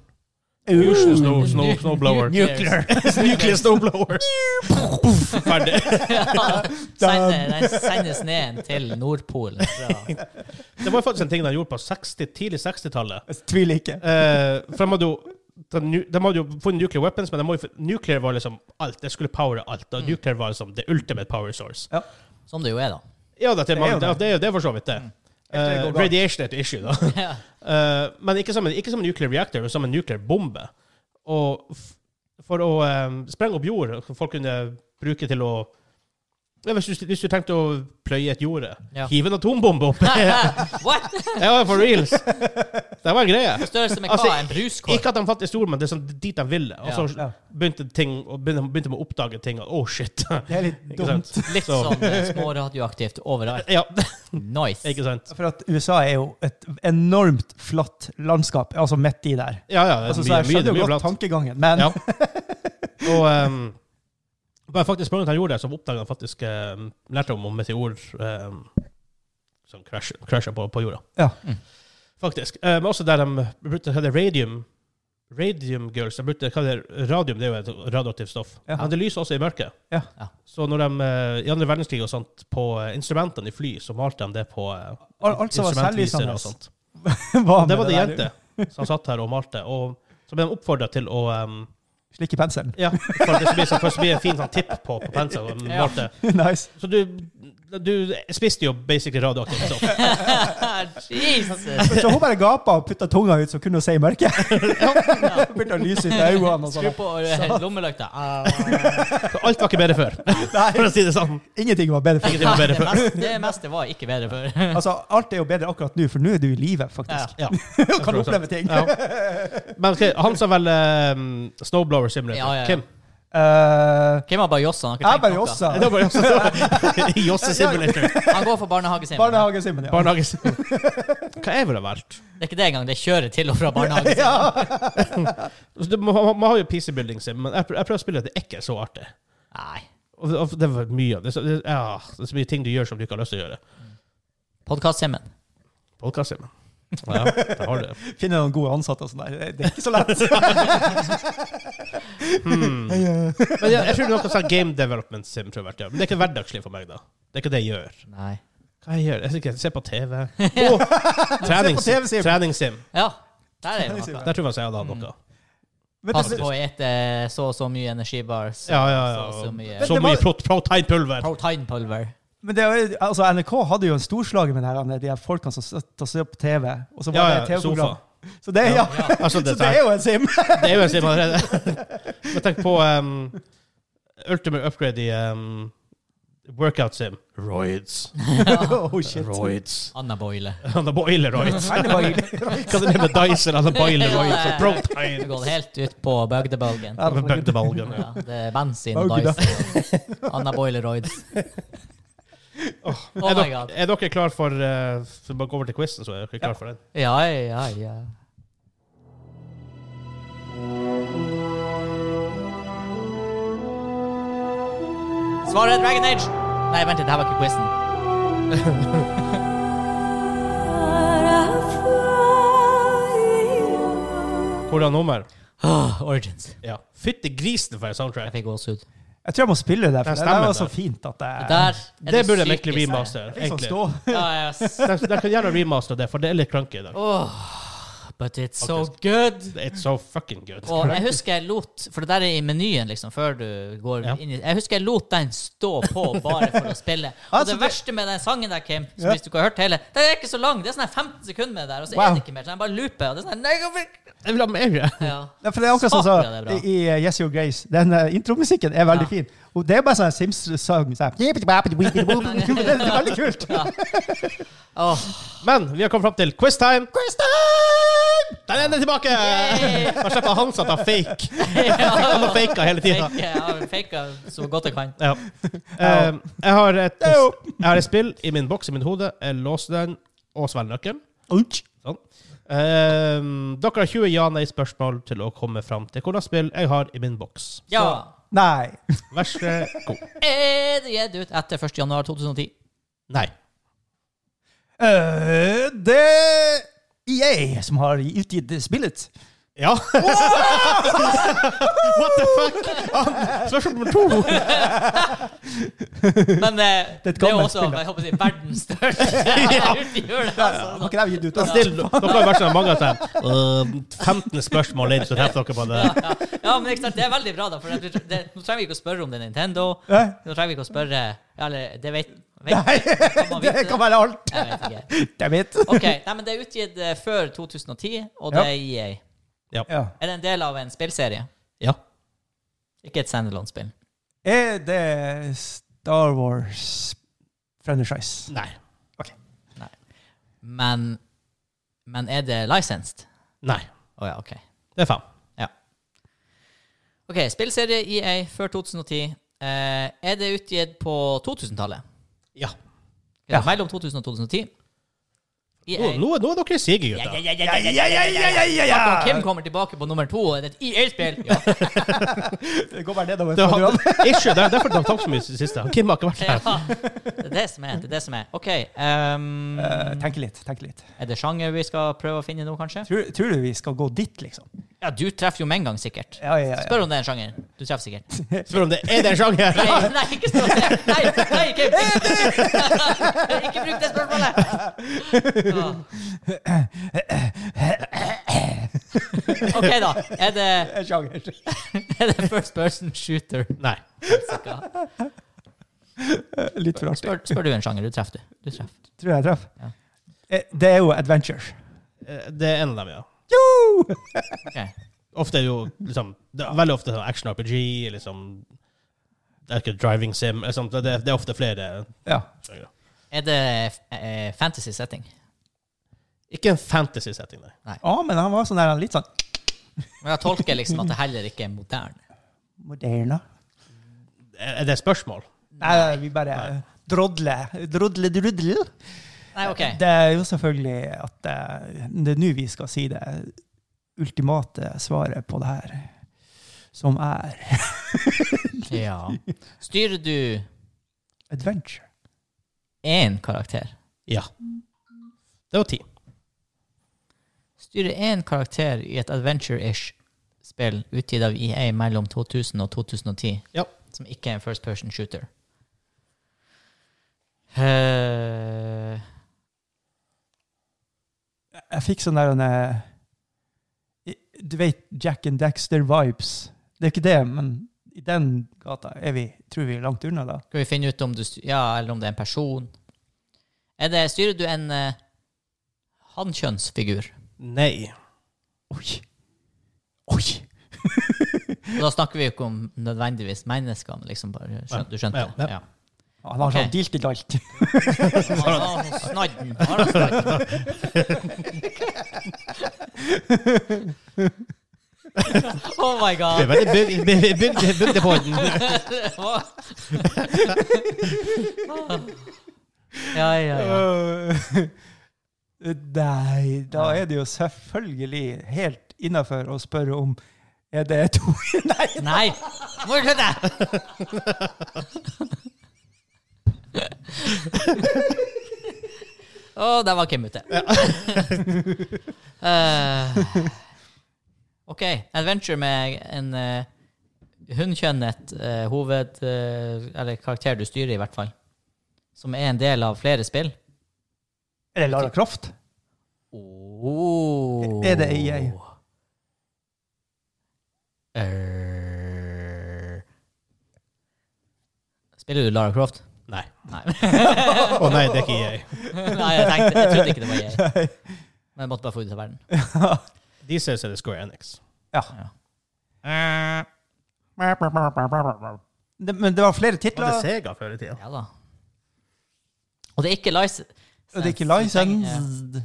[SPEAKER 1] Fusion snow, snow, snowblower.
[SPEAKER 2] Nuclear.
[SPEAKER 1] Nuclear snowblower. Puff, Ferdig.
[SPEAKER 2] Sender, den sender sneen til Nordpolen. Fra.
[SPEAKER 1] Det var faktisk en ting de gjorde på 60, tidlig 60-tallet.
[SPEAKER 3] Jeg tviler ikke.
[SPEAKER 1] Eh, for de hadde jo de, nu- de hadde jo funnet nuclear weapons, men de må jo, nuclear var liksom alt. Det skulle powere alt.
[SPEAKER 3] Mm.
[SPEAKER 1] Og nuclear var liksom the ultimate power source.
[SPEAKER 3] Ja.
[SPEAKER 2] Som det jo er, da.
[SPEAKER 1] Ja, det, er,
[SPEAKER 3] jo
[SPEAKER 1] mange,
[SPEAKER 3] det. Mm.
[SPEAKER 1] ja, det, er jo- det er for så vidt det.
[SPEAKER 3] tror det
[SPEAKER 1] Eh,
[SPEAKER 3] går galt.
[SPEAKER 1] radiation er et issue, da.
[SPEAKER 2] Ja.
[SPEAKER 1] Eh, men ikke som, en, ikke som en nuclear reactor, men som en nuclear bombe. Og f for å eh, sprenge opp jord, som folk kunne bruke til å ja, hvis, du, hvis du tenkte å pløye et jorde,
[SPEAKER 2] Ja.
[SPEAKER 1] hiv en atombombe opp!
[SPEAKER 2] What?!
[SPEAKER 1] ja, for reals! Det var en greie.
[SPEAKER 2] Størrelse med hva?
[SPEAKER 1] Altså,
[SPEAKER 2] en bruskorv?
[SPEAKER 1] Ikke at de faktisk gjorde men det er sånn dit de ville. Og så
[SPEAKER 3] Ja.
[SPEAKER 1] begynte, ting, og begynte, begynte med å oppdage ting. at, Oh, shit.
[SPEAKER 3] Det er litt
[SPEAKER 1] Ikke
[SPEAKER 3] dumt.
[SPEAKER 1] sant?
[SPEAKER 2] Litt
[SPEAKER 1] Så-
[SPEAKER 2] sånn eh, småradioaktivt overalt.
[SPEAKER 1] Ja,
[SPEAKER 2] Nice.
[SPEAKER 1] ikke sant?
[SPEAKER 3] For at USA er jo et enormt flatt landskap, altså midt i der.
[SPEAKER 1] Ja, ja. Det er
[SPEAKER 3] Altså, så
[SPEAKER 1] mye,
[SPEAKER 3] jeg
[SPEAKER 1] mye,
[SPEAKER 3] skjønner jo
[SPEAKER 1] mye
[SPEAKER 3] godt
[SPEAKER 1] blant.
[SPEAKER 3] tankegangen, men
[SPEAKER 1] Ja. Og ehm, bare faktisk mange han gjorde det, så oppdaget han faktisk um, lærte om om meteor ehm, som krasjer krasjer på, på jorda.
[SPEAKER 3] Ja.
[SPEAKER 2] Mm.
[SPEAKER 1] Faktisk. Eh, Men også der de brukte hva er det radium Radium girls, de brukte, hva er det, radium det er jo et radioaktivt stoff.
[SPEAKER 3] Ja.
[SPEAKER 1] Men det lyser også i mørket.
[SPEAKER 3] Ja.
[SPEAKER 2] Ja.
[SPEAKER 1] Så når de, eh, i andre verdenskrig og sånt, på eh, instrumentene i fly, så malte de det på eh,
[SPEAKER 3] Al- alt som var
[SPEAKER 1] instrumentvisere
[SPEAKER 3] selvlysende.
[SPEAKER 1] og sånt.
[SPEAKER 3] hva med
[SPEAKER 1] altså. Det var det
[SPEAKER 3] der?
[SPEAKER 1] jente som satt her og malte, og så ble de oppfordra til å ehm,
[SPEAKER 3] Slik i penselen.
[SPEAKER 1] ja, for det blir, så, for det blir en fin sånn tipp på, på pensel. og
[SPEAKER 2] Ja.
[SPEAKER 1] malte.
[SPEAKER 3] nice.
[SPEAKER 1] Så du, du spiste jo basically radioaktivt stoff.
[SPEAKER 2] Jesus!
[SPEAKER 3] Så hun bare gapa og putta tunga ut, så kunne hun se i mørket. Begynte å lyse ut i øynene og
[SPEAKER 2] Skru
[SPEAKER 3] sånn.
[SPEAKER 2] på eh, lommelykta. Ah.
[SPEAKER 1] Så alt var ikke bedre før, for
[SPEAKER 3] Nei,
[SPEAKER 1] å si det sånn.
[SPEAKER 3] ingenting var bedre. For.
[SPEAKER 1] Ingenting var bedre
[SPEAKER 2] Det
[SPEAKER 1] før.
[SPEAKER 2] meste, det meste var ikke bedre før.
[SPEAKER 3] Altså, alt er jo bedre akkurat nå, for nå er du i live, faktisk.
[SPEAKER 1] Ja. sånn.
[SPEAKER 3] Og kan oppleve ting.
[SPEAKER 1] Ja. Men ok, han sa vel ehm, Snowblower Simulator.
[SPEAKER 2] Ja, ja, ja.
[SPEAKER 1] Kim?
[SPEAKER 3] Eh,
[SPEAKER 2] Hvem har bare Jossa?
[SPEAKER 3] jeg bare Jossa.
[SPEAKER 1] Det var Josse Josse Simulator.
[SPEAKER 2] Han går for barnehagesimulator.
[SPEAKER 3] Barnehagesimmen, ja.
[SPEAKER 1] Barnehage Simulator. Hva jeg ville vært?
[SPEAKER 2] Det er ikke det engang. Det er kjøret til og fra barnehagen.
[SPEAKER 1] Altså, det- Man, man har jo PC Building Sim, men jeg, prø- jeg prøver å spille at det er ikke så artig.
[SPEAKER 2] Nei.
[SPEAKER 1] Og det- og det var mye av det. Så, det, ja, det er så mye ting du gjør som du ikke har lyst til å gjøre.
[SPEAKER 2] Podkast-Simen.
[SPEAKER 1] Podcast Sim. Ja, det har du.
[SPEAKER 3] Finne noen gode ansatte og sånn der. Det er ikke så lett.
[SPEAKER 1] Hmm. Men jeg, jeg tror noe sånn Game Development Sim tror jeg vært, ja. Men det er ikke hverdagslig for meg, da. Det er ikke det jeg gjør.
[SPEAKER 2] Nei.
[SPEAKER 1] Hva jeg gjør? Jeg, ser ikke- jeg ser på TV. Å, trening, Mm.
[SPEAKER 3] Se på TV-sim.
[SPEAKER 1] treningssim.
[SPEAKER 2] Ja, der er det noe.
[SPEAKER 1] Der tror jeg jeg hadde hatt noe.
[SPEAKER 3] Men
[SPEAKER 2] Pass
[SPEAKER 3] det,
[SPEAKER 2] på å ete eh, så og så mye energibar. Så,
[SPEAKER 1] Ja, ja,
[SPEAKER 2] Så, så mye
[SPEAKER 1] ja. Så mye pro- proteinpulver.
[SPEAKER 2] proteinpulver.
[SPEAKER 3] men det, er- altså, NRK hadde jo en storslager med det her, de her folkene som satt og så på TV. Og så var
[SPEAKER 1] Ja,
[SPEAKER 3] det
[SPEAKER 1] ja,
[SPEAKER 3] et TV-program.
[SPEAKER 1] sofa.
[SPEAKER 3] Så det, ja.
[SPEAKER 1] Altså,
[SPEAKER 3] Så
[SPEAKER 1] det,
[SPEAKER 3] det er jo en sim.
[SPEAKER 1] det er jo en sim allerede. Men tenk på um, Ultimate Upgrade i um, Workout Sim. Roids.
[SPEAKER 3] oh, shit.
[SPEAKER 1] Roids.
[SPEAKER 2] Anna Boile.
[SPEAKER 1] Han har boileroids.
[SPEAKER 3] Nei, det var ille.
[SPEAKER 1] Hva er det med Dyson? Han har boileroids og
[SPEAKER 2] Det har
[SPEAKER 1] protein.
[SPEAKER 2] gått helt ut på bøgdebalgen.
[SPEAKER 3] Ja,
[SPEAKER 1] Med bøgdebalgen.
[SPEAKER 2] Ja, det er bensin,
[SPEAKER 3] Bøgda.
[SPEAKER 2] Dyson, Anna Boileroids. Oh
[SPEAKER 1] Er
[SPEAKER 2] my
[SPEAKER 1] dere,
[SPEAKER 2] god.
[SPEAKER 1] er dere klar for eh, for å gå over til quizen, så er dere klar for den?
[SPEAKER 2] Ja, ja, ja. Svaret er Dragon Age! Nei, vent litt, det her var ikke quizen.
[SPEAKER 1] Hvordan nummer?
[SPEAKER 2] Åh, Ah, Origins.
[SPEAKER 1] Ja. Fytti grisen for en soundtrack.
[SPEAKER 2] Jeg fikk gåsehud.
[SPEAKER 3] Jeg tror jeg må spille det der, for
[SPEAKER 1] Den
[SPEAKER 3] det der
[SPEAKER 1] stemmen der.
[SPEAKER 3] var så fint at det
[SPEAKER 2] Der er
[SPEAKER 1] Det burde de egentlig
[SPEAKER 2] psykisk-
[SPEAKER 1] remaster.
[SPEAKER 3] Jeg fikk sånn
[SPEAKER 1] egentlig.
[SPEAKER 3] stå.
[SPEAKER 2] Ja, yes.
[SPEAKER 1] De, de kan gjerne remaster det, for det er litt clunky i dag.
[SPEAKER 2] But it's so good.
[SPEAKER 1] It's so fucking good.
[SPEAKER 2] Og jeg husker jeg lot For det der er i menyen, liksom, før du går
[SPEAKER 1] Ja.
[SPEAKER 2] inn i Jeg husker jeg lot den stå på bare for å spille. Og
[SPEAKER 3] Altså,
[SPEAKER 2] det
[SPEAKER 3] det-
[SPEAKER 2] verste med den sangen der, Kim, som
[SPEAKER 3] Ja.
[SPEAKER 2] hvis du ikke har hørt hele Den er ikke så lang. Det er sånn her 15 sekunder med det der, og så
[SPEAKER 3] Wow.
[SPEAKER 2] er det ikke mer. Så den bare looper. Og det er sånn her, nei, jeg vil-
[SPEAKER 1] Jeg vil ha mer.
[SPEAKER 2] ja.
[SPEAKER 3] Ja, for det er akkurat sånn
[SPEAKER 2] Saklig er det
[SPEAKER 3] som
[SPEAKER 2] bra.
[SPEAKER 3] i i Yes Your Grace. Den eh, intromusikken er veldig
[SPEAKER 2] Ja.
[SPEAKER 3] fin. Og det er bare sånn Sims-sang. Sånn. Men Det er veldig kult.
[SPEAKER 2] Åh,
[SPEAKER 1] Men vi har kommet fram til quiz time. Quiz time! Der er den tilbake!
[SPEAKER 2] Yay!
[SPEAKER 1] Da slipper Hans at han fake.
[SPEAKER 2] ja.
[SPEAKER 1] Han har faka hele tida.
[SPEAKER 2] Fake, ja, fake så godt jeg kan.
[SPEAKER 1] Ja. Eh, jeg, har et, jeg har et spill i min boks i mitt hode. Jeg låser den og svelger nøkkelen. Sånn. Eh, dere har 20 ja-nei-spørsmål til å komme fram til hvilket spill jeg har i min boks.
[SPEAKER 2] Ja.
[SPEAKER 3] Nei.
[SPEAKER 1] Vær så god.
[SPEAKER 2] Er det gitt ut etter 1. januar 2010?
[SPEAKER 1] Nei.
[SPEAKER 3] Eh, det er EA som har utgitt spillet.
[SPEAKER 1] Ja. What the fuck? Ah, Spørsmål nummer to.
[SPEAKER 2] Men eh,
[SPEAKER 3] er
[SPEAKER 2] det
[SPEAKER 3] et
[SPEAKER 2] er jo
[SPEAKER 3] gammelt
[SPEAKER 2] også
[SPEAKER 3] spill, da.
[SPEAKER 2] jeg håper å si, verdens største utgjør det,
[SPEAKER 3] Har
[SPEAKER 2] altså.
[SPEAKER 3] ikke det gitt ut?
[SPEAKER 1] Det er
[SPEAKER 3] Altså.
[SPEAKER 1] Still, dere har vært sånn mange av dem. Øh, 15 spørsmål inn, så treffer dere på det.
[SPEAKER 2] ja, ja, men ikke sant, det er veldig bra, da. For det, det, nå trenger vi ikke å spørre om det er Nintendo.
[SPEAKER 3] Nei.
[SPEAKER 2] Nå trenger vi ikke å spørre Eller, det vet, vet
[SPEAKER 3] Nei,
[SPEAKER 2] kan man
[SPEAKER 3] det
[SPEAKER 2] vite
[SPEAKER 3] kan være alt.
[SPEAKER 2] Jeg vet ikke.
[SPEAKER 3] Jeg vet.
[SPEAKER 2] OK. Nei, men det er utgitt eh, før 2010, og det er EA.
[SPEAKER 3] Ja.
[SPEAKER 2] Er det en del av en spillserie?
[SPEAKER 1] Ja.
[SPEAKER 2] Ikke et standalone-spill.
[SPEAKER 3] Er det Star Wars franchise?
[SPEAKER 1] Nei.
[SPEAKER 2] Men, men er det licensed?
[SPEAKER 1] Nei.
[SPEAKER 2] Å ja, OK.
[SPEAKER 1] Det er fem.
[SPEAKER 2] Ja. OK, spillserie EA før 2010. Eh, er det utgitt på 2000-tallet?
[SPEAKER 1] Ja.
[SPEAKER 2] Ja. Mellom 2000 og E 2010?
[SPEAKER 1] Nå, nå, nå er dere sige,
[SPEAKER 2] Ja,
[SPEAKER 1] gutter.
[SPEAKER 2] ja,
[SPEAKER 3] Ja,
[SPEAKER 2] ja,
[SPEAKER 3] ja, ja, ja, ja, ja, ja.
[SPEAKER 2] Og Kim kommer tilbake på nummer to. Er det et EA-spill? Ja.
[SPEAKER 3] Det går bare nedover.
[SPEAKER 1] Det er han- issue, det er derfor de tapte så mye i det siste. Han Kim har ikke vært her.
[SPEAKER 2] ja. Det er det som er. Det er det som er. OK. ehm,
[SPEAKER 3] Eh, Tenk litt. tenk litt.
[SPEAKER 2] er det sjanger vi skal prøve å finne nå, kanskje?
[SPEAKER 3] Tror, tror du vi skal gå dit, liksom?
[SPEAKER 2] Ja, du treffer jo med en gang, sikkert.
[SPEAKER 3] Ja, ja, ja.
[SPEAKER 2] Spør om det er en sjanger. Du treffer sikkert.
[SPEAKER 1] Spør om det er det en sjanger.
[SPEAKER 2] Nei, nei, ikke stå der! Nei, nei, Kim! Ikke bruk det spørsmålet! Ah. Åh. OK, da. Er det,
[SPEAKER 3] En sjanger.
[SPEAKER 2] er det first person shooter?
[SPEAKER 1] Nei.
[SPEAKER 3] Litt for artig.
[SPEAKER 2] Spør, spør du en sjanger. Du treffer, du. Du treffer.
[SPEAKER 3] Tror jeg traff.
[SPEAKER 2] Ja.
[SPEAKER 3] Eh, Det er jo adventure.
[SPEAKER 1] Eh, Det er en av dem, ja.
[SPEAKER 3] Jo!
[SPEAKER 2] Ok.
[SPEAKER 1] Ofte er det jo liksom det er Veldig ofte sånn action RPG, liksom Det er ikke driving sim. Liksom, det, er- det er ofte flere
[SPEAKER 3] Ja.
[SPEAKER 1] sjangere.
[SPEAKER 2] Er det eh, fantasy setting?
[SPEAKER 1] Ikke en fantasy-setting, nei.
[SPEAKER 3] Å, men han var sånn der, litt sånn
[SPEAKER 2] Men jeg tolker liksom at det heller ikke er moderne.
[SPEAKER 3] Moderna.
[SPEAKER 1] Er er det et spørsmål?
[SPEAKER 3] Nei, nei, vi bare drodler. Drodle, drudle.
[SPEAKER 2] Nei, OK.
[SPEAKER 3] Det er jo selvfølgelig at eh, det er nå vi skal si det ultimate svaret på det her, som er
[SPEAKER 2] Ja. Styrer du
[SPEAKER 3] adventure.
[SPEAKER 2] én karakter?
[SPEAKER 1] Ja. Det var ti.
[SPEAKER 2] Styrer én karakter i et adventure-ish spill utgitt av EA mellom 2000 og 2010,
[SPEAKER 1] Ja.
[SPEAKER 2] som ikke er en first person shooter? Eh,
[SPEAKER 3] Jeg fikk sånn der en eh, Du vet Jack and Dexter-vibes. Det er ikke det, men i den gata er vi, tror vi er langt unna, da.
[SPEAKER 2] skal vi finne ut om du styr, Ja, eller om det er en person? Er det, styrer du en uh, hannkjønnsfigur?
[SPEAKER 1] Nei.
[SPEAKER 3] Oi! Oi!
[SPEAKER 2] Og Da snakker vi jo ikke om nødvendigvis mennesker, men liksom bare skjøn, Du skjønte?
[SPEAKER 1] Ja, ja.
[SPEAKER 2] Ja.
[SPEAKER 3] Han har
[SPEAKER 2] Ok.
[SPEAKER 3] sånn dilt i dalt.
[SPEAKER 2] Ah, Snadden. Bare snadden. Oh my
[SPEAKER 1] Det er
[SPEAKER 2] god.
[SPEAKER 1] veldig bygd, bygd, bygd, bygd på den.
[SPEAKER 2] Ja, ja, ja.
[SPEAKER 3] Nei, da er det jo selvfølgelig helt innafor å spørre om er det to Nei!
[SPEAKER 2] Nei! Må du slutte! Å, der var Kim ute. Eh, OK. Adventure med en uh, hunnkjønnet eh, hoved... eh, eller karakter du styrer, i hvert fall. Som er en del av flere spill.
[SPEAKER 3] Er det Lara Croft?
[SPEAKER 2] Oh.
[SPEAKER 3] Er det EA?
[SPEAKER 2] Eh. Spiller du Lara Croft?
[SPEAKER 1] Nei.
[SPEAKER 2] Nei.
[SPEAKER 1] Å nei, det er ikke jeg.
[SPEAKER 2] Nei, jeg, tenkte, jeg trodde ikke det var EA. Men jeg måtte bare få ut av verden.
[SPEAKER 1] De ser ut som det er Square Enix.
[SPEAKER 3] Ja.
[SPEAKER 2] Ja.
[SPEAKER 3] Det, men det var flere
[SPEAKER 1] Var det
[SPEAKER 3] titler.
[SPEAKER 1] Sega før i tida?
[SPEAKER 2] Ja da. Og det er ikke license.
[SPEAKER 3] Og det er ikke
[SPEAKER 2] Ja.
[SPEAKER 3] licensed.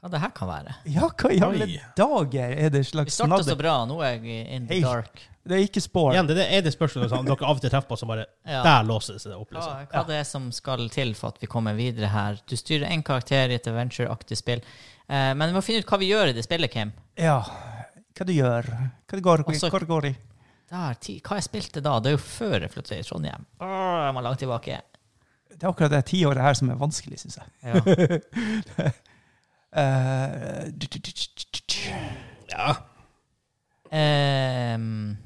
[SPEAKER 2] Hva det her kan være?
[SPEAKER 3] Ja, hva i alle
[SPEAKER 1] Oi.
[SPEAKER 3] dager er det
[SPEAKER 2] Vi
[SPEAKER 3] slags
[SPEAKER 2] starta så
[SPEAKER 3] snadder?
[SPEAKER 2] bra, nå er jeg in the
[SPEAKER 3] Hei.
[SPEAKER 2] dark.
[SPEAKER 3] Det er ikke spår.
[SPEAKER 1] Igjen, det er det- er det spørsmålet som dere av og til treffer på, som bare
[SPEAKER 2] Ja.
[SPEAKER 1] Der låser det seg opp,
[SPEAKER 2] Hva,
[SPEAKER 1] liksom.
[SPEAKER 2] hva det er som skal til for at vi kommer videre her? Du styrer én karakter i et adventure-aktig spill. Eh, men vi må finne ut hva vi gjør i det spillet, Kim.
[SPEAKER 3] Ja. Hva du gjør? Hva det går,
[SPEAKER 2] Altså-
[SPEAKER 3] hva det går i?
[SPEAKER 2] Der, ti, hva jeg spilte da? Det er jo før jeg flytta til Trondheim. Åh, jeg må langt tilbake.
[SPEAKER 3] Det er akkurat det tiåret her som er vanskelig, syns jeg.
[SPEAKER 2] Ja.
[SPEAKER 3] Eh, du- du- du- du- du- du-
[SPEAKER 1] Ja.
[SPEAKER 2] Ehm,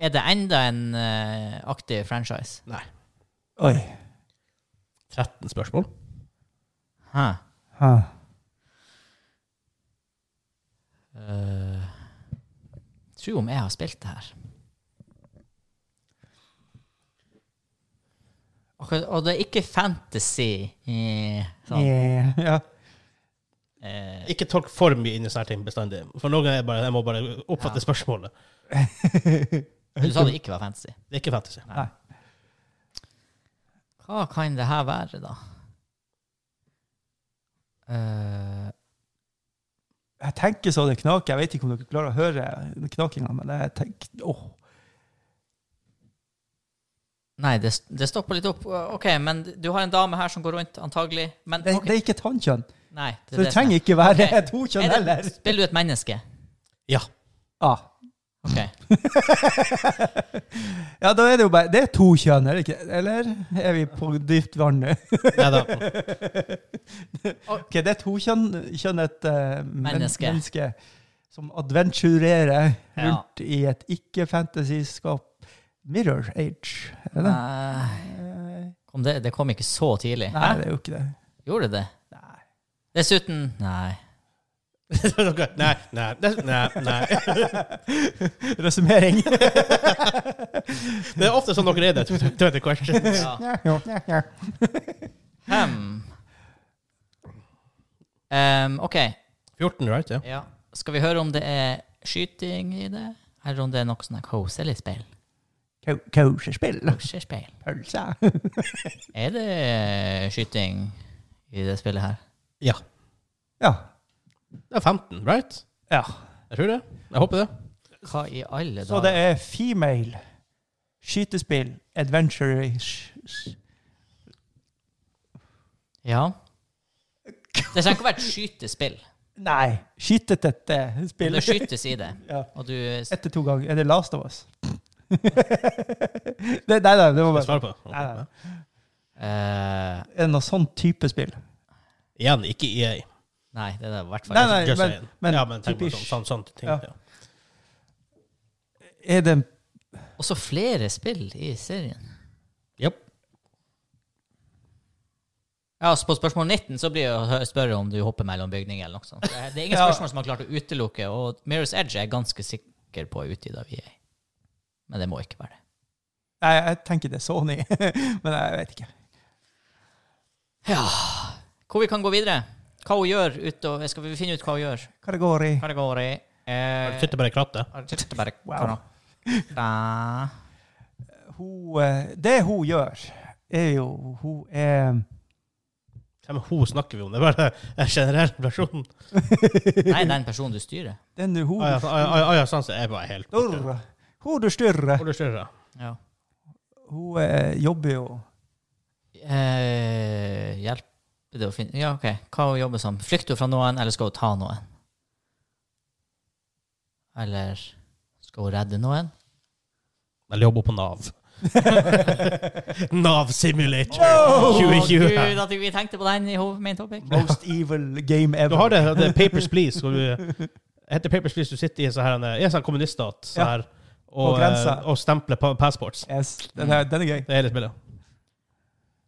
[SPEAKER 2] er det enda en eh, aktiv franchise?
[SPEAKER 1] Nei.
[SPEAKER 3] Oi.
[SPEAKER 1] 13 spørsmål.
[SPEAKER 2] Hæ?
[SPEAKER 3] Hæ.
[SPEAKER 2] Eh, Tro om jeg har spilt det her. Og, og det er ikke fantasy. eh, sånn.
[SPEAKER 3] Eh, Ja.
[SPEAKER 2] Eh,
[SPEAKER 1] Ikke tolk for mye inn i sånne ting bestandig. For noen ganger er jeg bare, jeg må bare oppfatte spørsmålet.
[SPEAKER 2] du sa det ikke var fantasy.
[SPEAKER 1] Det er ikke fantasy.
[SPEAKER 2] Hva kan det her være, da? Eh,
[SPEAKER 3] Jeg tenker så det knaker. Jeg vet ikke om dere klarer å høre knakinga, men jeg tenker åh.
[SPEAKER 2] nei, det, det stopper litt opp. OK, men du har en dame her som går rundt, antagelig. Men
[SPEAKER 3] Det,
[SPEAKER 2] ok.
[SPEAKER 3] det er ikke et hannkjønn,
[SPEAKER 2] Nei,
[SPEAKER 3] så det
[SPEAKER 2] som er-
[SPEAKER 3] trenger ikke være
[SPEAKER 2] Ok.
[SPEAKER 3] et hokjønn
[SPEAKER 2] Er det-
[SPEAKER 3] heller.
[SPEAKER 2] Spiller du et menneske?
[SPEAKER 1] Ja.
[SPEAKER 3] Ja.
[SPEAKER 2] Ah. OK.
[SPEAKER 3] ja, da er det jo bare Det er to kjønn, er det ikke? Eller er vi på dypt vann nå?
[SPEAKER 1] Nei da.
[SPEAKER 3] Ok, det er to kjønn, kjønnet eh, men,
[SPEAKER 2] Menneske.
[SPEAKER 3] menneske. som adventurerer
[SPEAKER 2] Ja.
[SPEAKER 3] rundt i et ikke-fantasyskap. Mirror Age, er det det?
[SPEAKER 2] Nei,
[SPEAKER 3] Eh,
[SPEAKER 2] Kom det, det kom ikke så tidlig.
[SPEAKER 3] Nei,
[SPEAKER 2] Hæ?
[SPEAKER 3] det er jo ikke det.
[SPEAKER 2] Gjorde det det?
[SPEAKER 3] Nei.
[SPEAKER 2] Dessuten Nei.
[SPEAKER 1] Nei, nei, det- nei, nei.
[SPEAKER 3] Resumering.
[SPEAKER 1] Det er ofte sånn dere er det. 20 questions.
[SPEAKER 2] Ja.
[SPEAKER 3] Ja.
[SPEAKER 2] Hmm. Em, OK.
[SPEAKER 1] 14, right? Ja.
[SPEAKER 2] Ja. Skal vi høre om det er skyting i det? Eller om det er noe sånn her koselig spill?
[SPEAKER 3] Kau- Kausespill.
[SPEAKER 2] Kosespill.
[SPEAKER 3] Pølse.
[SPEAKER 2] Er det eh, skyting i det spillet her?
[SPEAKER 1] ja.
[SPEAKER 3] Ja.
[SPEAKER 1] Det er 15, right?
[SPEAKER 3] ja.
[SPEAKER 1] Jeg tror det. Jeg håper det.
[SPEAKER 2] Hva i alle
[SPEAKER 3] Så det
[SPEAKER 2] dager?
[SPEAKER 3] er female skytespill adventure-ish.
[SPEAKER 2] Ja. Det trenger ikke å være et skytespill.
[SPEAKER 3] Nei, skytetette
[SPEAKER 2] Men
[SPEAKER 3] spill.
[SPEAKER 2] Det skytes i det.
[SPEAKER 3] Ja.
[SPEAKER 2] Og du eh,
[SPEAKER 3] Etter to ganger. Er det Last of Us? det, nei, nei, det
[SPEAKER 1] Jeg
[SPEAKER 3] var bare
[SPEAKER 1] svarer på
[SPEAKER 3] Nei, nei,
[SPEAKER 1] det.
[SPEAKER 3] nei.
[SPEAKER 2] eh,
[SPEAKER 3] Er det noe sånn type spill?
[SPEAKER 1] Igjen, ikke EA.
[SPEAKER 2] Nei, det er det i hvert fall
[SPEAKER 3] Nei,
[SPEAKER 2] ikke.
[SPEAKER 3] nei,
[SPEAKER 1] Just
[SPEAKER 3] men,
[SPEAKER 1] saying.
[SPEAKER 3] men,
[SPEAKER 1] ja, men tenk på sånn,
[SPEAKER 3] typisk.
[SPEAKER 1] sånn, sånn ting.
[SPEAKER 3] Ja.
[SPEAKER 1] Ja.
[SPEAKER 3] Er det
[SPEAKER 2] Også flere spill i serien.
[SPEAKER 1] Japp.
[SPEAKER 2] Ja, så På spørsmål 19 så blir jeg å spørre om du hopper mellom bygninger. eller noe sånt. Det er- det er ingen
[SPEAKER 3] Ja.
[SPEAKER 2] spørsmål som har klart å utelukke, og Mirror's Edge er jeg ganske sikker på er utgitt av EA. Men det må ikke være det.
[SPEAKER 3] Nei, jeg tenker det er Sony, men jeg vet ikke.
[SPEAKER 2] Hvor vi kan gå videre? Hva hun gjør utover Skal vi finne ut hva hun gjør?
[SPEAKER 3] Kategori.
[SPEAKER 2] Hva det går i?
[SPEAKER 1] Bare
[SPEAKER 2] Eh,
[SPEAKER 1] Sitter bare i krattet.
[SPEAKER 2] Arkitekter bare
[SPEAKER 3] Wow.
[SPEAKER 2] Da.
[SPEAKER 3] Hun, eh, det hun gjør, er jo Hun er
[SPEAKER 1] Hvem er hun snakker vi om? Det er bare en generell person.
[SPEAKER 2] Nei, den personen du styrer.
[SPEAKER 3] Den er hun
[SPEAKER 1] Aja, aja, aja, aja, sånn så er jeg bare helt
[SPEAKER 3] du
[SPEAKER 1] borte.
[SPEAKER 3] styrrer. Hun du styrrer.
[SPEAKER 1] Hvor du styrer.
[SPEAKER 2] Ja.
[SPEAKER 3] Hun eh, jobber jo
[SPEAKER 2] Eh, hjelper det å finne Ja, OK. Hva hun jobber som? Flykter hun fra noen, eller skal hun ta noen? Eller skal hun redde noen?
[SPEAKER 1] Eller jobber på Nav. Nav Simulator
[SPEAKER 3] Wow!
[SPEAKER 2] Å,
[SPEAKER 1] 2020.
[SPEAKER 2] Gud, at vi tenkte på den i hovedet min topic.
[SPEAKER 3] Most Evil Game Ever.
[SPEAKER 1] Du har det, det er Papers Please. Hvor du, det heter Papers Please. Du sitter i en sånn her, en- i en sånn kommuniststat så
[SPEAKER 3] Ja.
[SPEAKER 1] her,
[SPEAKER 3] På
[SPEAKER 1] og,
[SPEAKER 3] grensa.
[SPEAKER 1] eh, og stempler pa- passports.
[SPEAKER 3] Yes, den, er, den er gøy.
[SPEAKER 1] Det er hele spillet.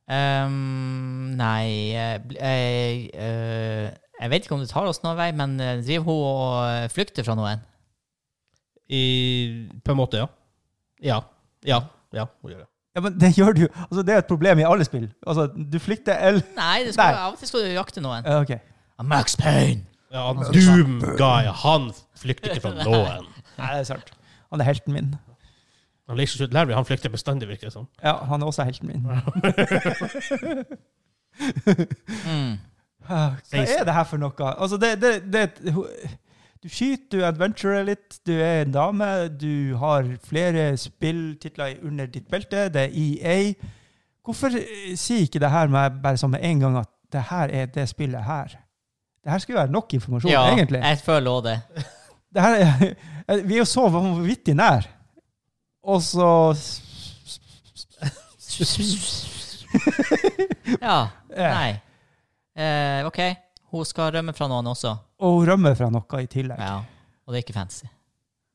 [SPEAKER 2] Ehm, nei eh, bl- eh, eh, Jeg vet ikke om det tar oss noen vei, men eh, driver hun og eh, flykter fra noen?
[SPEAKER 1] I, på en måte, ja. Ja. Ja. ja hun gjør det.
[SPEAKER 3] Ja, men det gjør du jo. Altså, det er et problem i alle spill. Altså, du flykter eller
[SPEAKER 2] Nei, det skal,
[SPEAKER 3] Nei.
[SPEAKER 2] av og til skal du jakte noen.
[SPEAKER 3] Ja, OK.
[SPEAKER 2] Max Payne!
[SPEAKER 1] Ja, Doom Guy, han flykter ikke fra noen.
[SPEAKER 3] Nei, det er sant. Han er helten min.
[SPEAKER 1] Han Leisure Suit Larry han flykter bestandig, virker det som.
[SPEAKER 3] Ja, han er også helten min.
[SPEAKER 2] Mm.
[SPEAKER 3] Ah, Hva er det her for noe? Altså, det, det, det er et- ho- Du skyter, du adventurer litt, du er en dame, du har flere spilltitler under ditt belte, det er EA. Hvorfor eh, sier ikke det her meg bare som med en gang at det her er det spillet her? Det her skulle være nok informasjon,
[SPEAKER 2] Ja,
[SPEAKER 3] egentlig.
[SPEAKER 2] jeg føler òg det.
[SPEAKER 3] Det her er, vi er jo så vanvittig nær. Og så
[SPEAKER 2] Ja.
[SPEAKER 3] eh,
[SPEAKER 2] Nei. Eh, OK. Hun skal rømme fra noen også.
[SPEAKER 3] Og hun rømmer fra noe i tillegg.
[SPEAKER 2] Ja. Og det er ikke fancy.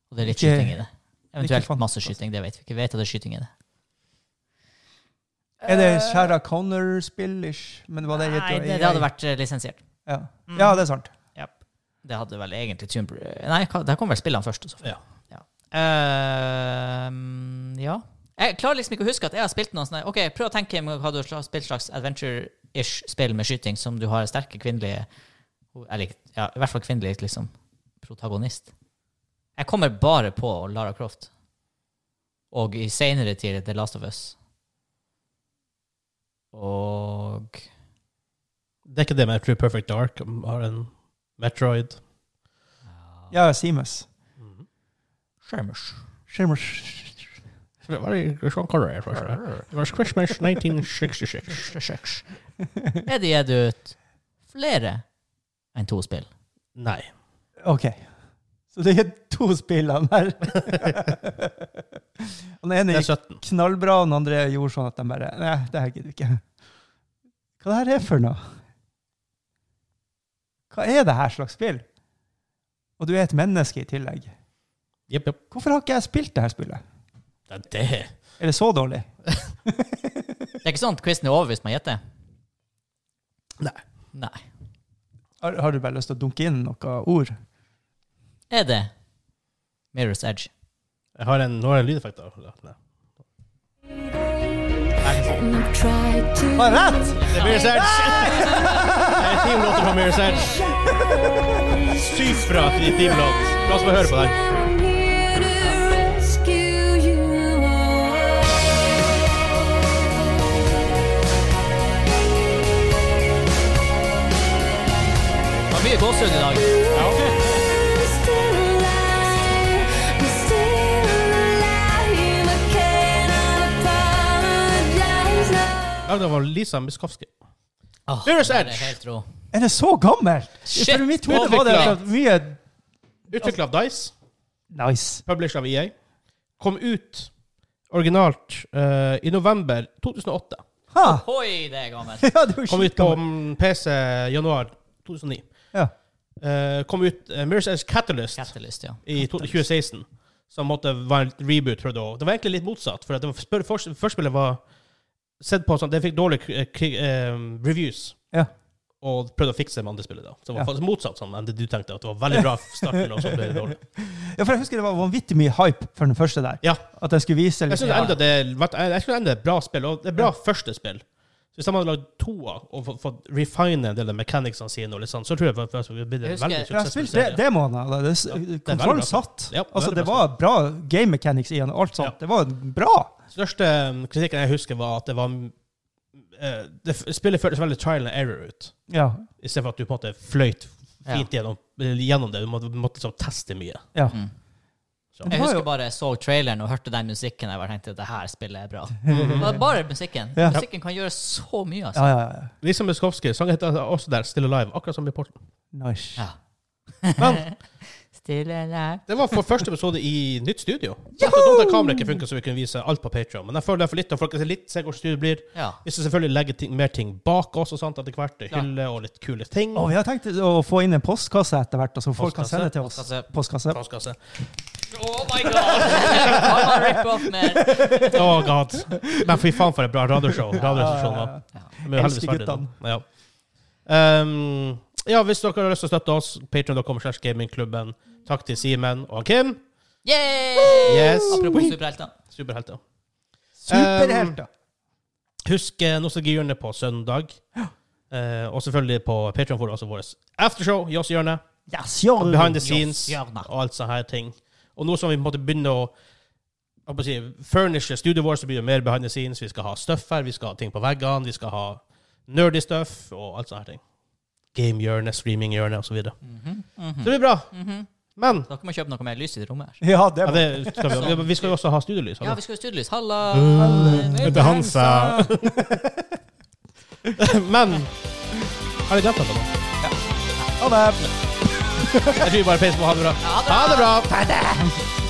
[SPEAKER 2] Og det er litt
[SPEAKER 3] Ikke-
[SPEAKER 2] skyting i det.
[SPEAKER 3] ikke
[SPEAKER 2] Eventuelt
[SPEAKER 3] fan-
[SPEAKER 2] masse skyting. Det vet vi ikke. Vi vet at det er skyting i det.
[SPEAKER 3] Er det Sarah Connor-spill-ish? Men var det gitt
[SPEAKER 2] Eh. Nei,
[SPEAKER 3] av
[SPEAKER 2] det, det
[SPEAKER 3] EA?
[SPEAKER 2] hadde vært Mm. eh, lisensiert.
[SPEAKER 3] ja. ja, det er sant.
[SPEAKER 2] Det hadde vel egentlig Tomb Nei, hva- der kom vel spillene først. og så-
[SPEAKER 1] Ja.
[SPEAKER 2] Ja. Eh, ja. Jeg klarer liksom ikke å huske at jeg har spilt noen sånne Ok, prøv å tenke meg hva du har spilt slags adventure-ish spill med skyting som du har sterke kvinnelige Eller ja, i hvert fall kvinnelige liksom, protagonist. Jeg kommer bare på Lara Croft. Og i seinere tid The Last of Us. Og
[SPEAKER 1] Det er ikke det med True Perfect Dark. um, Har en Metroid.
[SPEAKER 3] Ja, Seamus.
[SPEAKER 1] Mm-hmm.
[SPEAKER 2] Skjermers.
[SPEAKER 3] Shimmers.
[SPEAKER 1] Sean Connery er fra It was Christmas 1966.
[SPEAKER 2] Er det gitt ut flere enn to spill?
[SPEAKER 1] Nei.
[SPEAKER 3] OK. Så det er to spill han her. Han ene
[SPEAKER 1] Det er
[SPEAKER 3] gikk
[SPEAKER 2] sånn.
[SPEAKER 1] 17.
[SPEAKER 3] knallbra, og den andre gjorde sånn at de bare Nei, det her gidder vi ikke. Hva det her er for noe? Hva er det her slags spill? Og du er et menneske i tillegg.
[SPEAKER 1] Jepp, jepp.
[SPEAKER 3] Hvorfor har ikke jeg spilt det her spillet?
[SPEAKER 1] Det er det.
[SPEAKER 3] Er det så dårlig?
[SPEAKER 2] Det er ikke sånn at quizen er over hvis man gjetter?
[SPEAKER 1] Nei.
[SPEAKER 2] Nei.
[SPEAKER 3] Har, har du bare lyst til å dunke inn noen ord?
[SPEAKER 2] Er det Mirror's Edge?
[SPEAKER 1] Jeg har en, nå har jeg en lydeffekt. da. Nei.
[SPEAKER 4] And I've tried to
[SPEAKER 3] Har jeg rett?
[SPEAKER 1] Det er Mirror's Edge! Det er teamlåter fra Mirror's Edge. Sykt bra i teamlåt. La oss få høre på den.
[SPEAKER 4] I'm here to rescue you
[SPEAKER 2] Det var mye gåsehud i dag.
[SPEAKER 4] Still alive, 'cause
[SPEAKER 1] Lagd av Lisa Miskovsky.
[SPEAKER 2] Åh,
[SPEAKER 1] Mirror's
[SPEAKER 2] det er
[SPEAKER 1] Edge.
[SPEAKER 2] helt rå.
[SPEAKER 3] Er det så gammelt?
[SPEAKER 2] Shit,
[SPEAKER 3] For mitt hode var det
[SPEAKER 2] utviklet.
[SPEAKER 3] at mye
[SPEAKER 1] Utvikla av Dice,
[SPEAKER 3] Nice.
[SPEAKER 1] published av EA. Kom ut originalt eh, i november 2008.
[SPEAKER 3] Ha.
[SPEAKER 2] Hoi, det er gammelt.
[SPEAKER 3] Ja, det var
[SPEAKER 1] Kom ut på
[SPEAKER 3] skitgammelt.
[SPEAKER 1] mm, PC januar 2009.
[SPEAKER 3] Ja.
[SPEAKER 1] Eh, kom ut uh, Mirror's Edge Catalyst
[SPEAKER 2] Catalyst, ja.
[SPEAKER 1] i to- 2016, som måtte være en reboot. Prøvde å. Det var egentlig litt motsatt, for at det var, spør- først- førstespillet var sett på som Det fikk dårlige eh, kri- eh, reviews.
[SPEAKER 3] Ja.
[SPEAKER 1] Og prøvde å fikse det med andre spillet. da. Så det var
[SPEAKER 3] Ja.
[SPEAKER 1] faktisk motsatt som enn det du tenkte. At det var veldig bra starten, og så ble det dårlig.
[SPEAKER 3] ja, for jeg husker det var vanvittig mye hype for den første der.
[SPEAKER 1] Ja.
[SPEAKER 3] At jeg skulle vise
[SPEAKER 1] Jeg
[SPEAKER 3] litt.
[SPEAKER 1] syns enda det vet du, jeg synes enda det er et bra spill, og det er bra første spill. Så hvis de hadde lagd to av, og fått- fått refine en del av mechanicsene sine, og litt sånn, så tror jeg det hadde blitt
[SPEAKER 2] Jeg
[SPEAKER 1] en
[SPEAKER 2] husker-
[SPEAKER 1] veldig
[SPEAKER 3] Ja, jeg
[SPEAKER 1] suksessfull
[SPEAKER 3] spilte
[SPEAKER 1] serie.
[SPEAKER 3] demoene
[SPEAKER 1] Ja, det er
[SPEAKER 3] av det. det.
[SPEAKER 1] veldig
[SPEAKER 3] Kontrollen
[SPEAKER 1] bra.
[SPEAKER 3] satt.
[SPEAKER 1] Ja,
[SPEAKER 3] Altså,
[SPEAKER 1] veldig
[SPEAKER 3] det
[SPEAKER 1] bra
[SPEAKER 3] var bra game mechanics i den, og alt sånt. Det var bra.
[SPEAKER 1] Største um, kritikken jeg husker, var at det var eh, det, f- Spillet føltes veldig trial and error ut,
[SPEAKER 3] Ja.
[SPEAKER 1] i stedet for at du på en måte fløyt
[SPEAKER 2] Ja.
[SPEAKER 1] fint gjennom, gjennom det. Du måtte, måtte liksom teste mye.
[SPEAKER 3] ja.
[SPEAKER 2] Mm.
[SPEAKER 1] Så.
[SPEAKER 3] Det
[SPEAKER 2] Jeg
[SPEAKER 3] var
[SPEAKER 2] husker
[SPEAKER 3] jo-
[SPEAKER 2] bare jeg så traileren og hørte den musikken. Jeg bare tenkte det her spillet er bra. Det var bare musikken.
[SPEAKER 3] Ja.
[SPEAKER 2] Musikken kan gjøre så mye, altså.
[SPEAKER 3] Ja, ja, ja.
[SPEAKER 1] Lisa Muskowski sang Liksom heter altså også der Still Alive, akkurat som i Portland.
[SPEAKER 3] Nice.
[SPEAKER 2] Ja.
[SPEAKER 1] Men-
[SPEAKER 2] Stille der.
[SPEAKER 1] Det var for første episode i nytt studio. Så da kameraet ikke funket, så vi kunne vise alt på Patreon Men jeg føler det er for litt, og folk ser litt, ser hvor studio blir.
[SPEAKER 2] Ja.
[SPEAKER 1] Vi skal selvfølgelig legge ting, mer ting bak oss og sånt etter hvert. det
[SPEAKER 2] Klart.
[SPEAKER 1] Hylle og litt kule ting.
[SPEAKER 3] Og vi har tenkt å få inn en postkasse etter hvert, og så folk kan
[SPEAKER 1] Postkasse,
[SPEAKER 3] sende til oss.
[SPEAKER 2] postkasse.
[SPEAKER 3] Postkasse.
[SPEAKER 1] Postkasse.
[SPEAKER 2] Oh my god! Kan man rippe off mer?
[SPEAKER 1] Å, oh, god. Men fy faen, for et bra radioshow. Radiostasjon, da.
[SPEAKER 2] Ja.
[SPEAKER 1] Vi er jo heldigvis
[SPEAKER 3] Elsker
[SPEAKER 1] ferdig
[SPEAKER 3] guttene.
[SPEAKER 1] nå. Ja. Ehm, ja, hvis dere har lyst til å støtte oss, patreon.com slash gamingklubben. Takk til Simen og Kim.
[SPEAKER 2] Yay!
[SPEAKER 1] Yes.
[SPEAKER 2] Apropos superhelter.
[SPEAKER 1] Superhelter.
[SPEAKER 3] Superhelter.
[SPEAKER 1] Um, Husk eh, Nostalgihjørnet på søndag. Eh, og selvfølgelig på Patreon får du også vår aftershow, Joss-hjørnet.
[SPEAKER 3] Yes, ja.
[SPEAKER 1] Og behind the scenes
[SPEAKER 2] Joss-hjørnet.
[SPEAKER 1] og alt sånne her ting. Og nå som vi på en måte begynner å hva skal jeg si, furnishe studioet vårt, så blir det mer behind the scenes. Vi skal ha stuff her, vi skal ha ting på veggene, vi skal ha nerdy stuff og alt sånne her ting. Gamehjørne, streaminghjørne osv. Så, videre.
[SPEAKER 2] Mhm,
[SPEAKER 1] så
[SPEAKER 2] mhm.
[SPEAKER 1] det blir bra. Men
[SPEAKER 2] Dere må kjøpe noe mer lys i det rommet her.
[SPEAKER 3] Ja,
[SPEAKER 1] ja,
[SPEAKER 3] det var
[SPEAKER 1] det skal vi, vi skal jo også ha altså. studiolys.
[SPEAKER 2] Ja,
[SPEAKER 1] hallo.
[SPEAKER 2] vi skal jo i studielys. Halla!
[SPEAKER 5] Det er han sa.
[SPEAKER 1] Men Har jeg glemt noe? nå?
[SPEAKER 3] Ha det.
[SPEAKER 1] Jeg tror vi bare peiser på. Ha det bra. Ha det bra.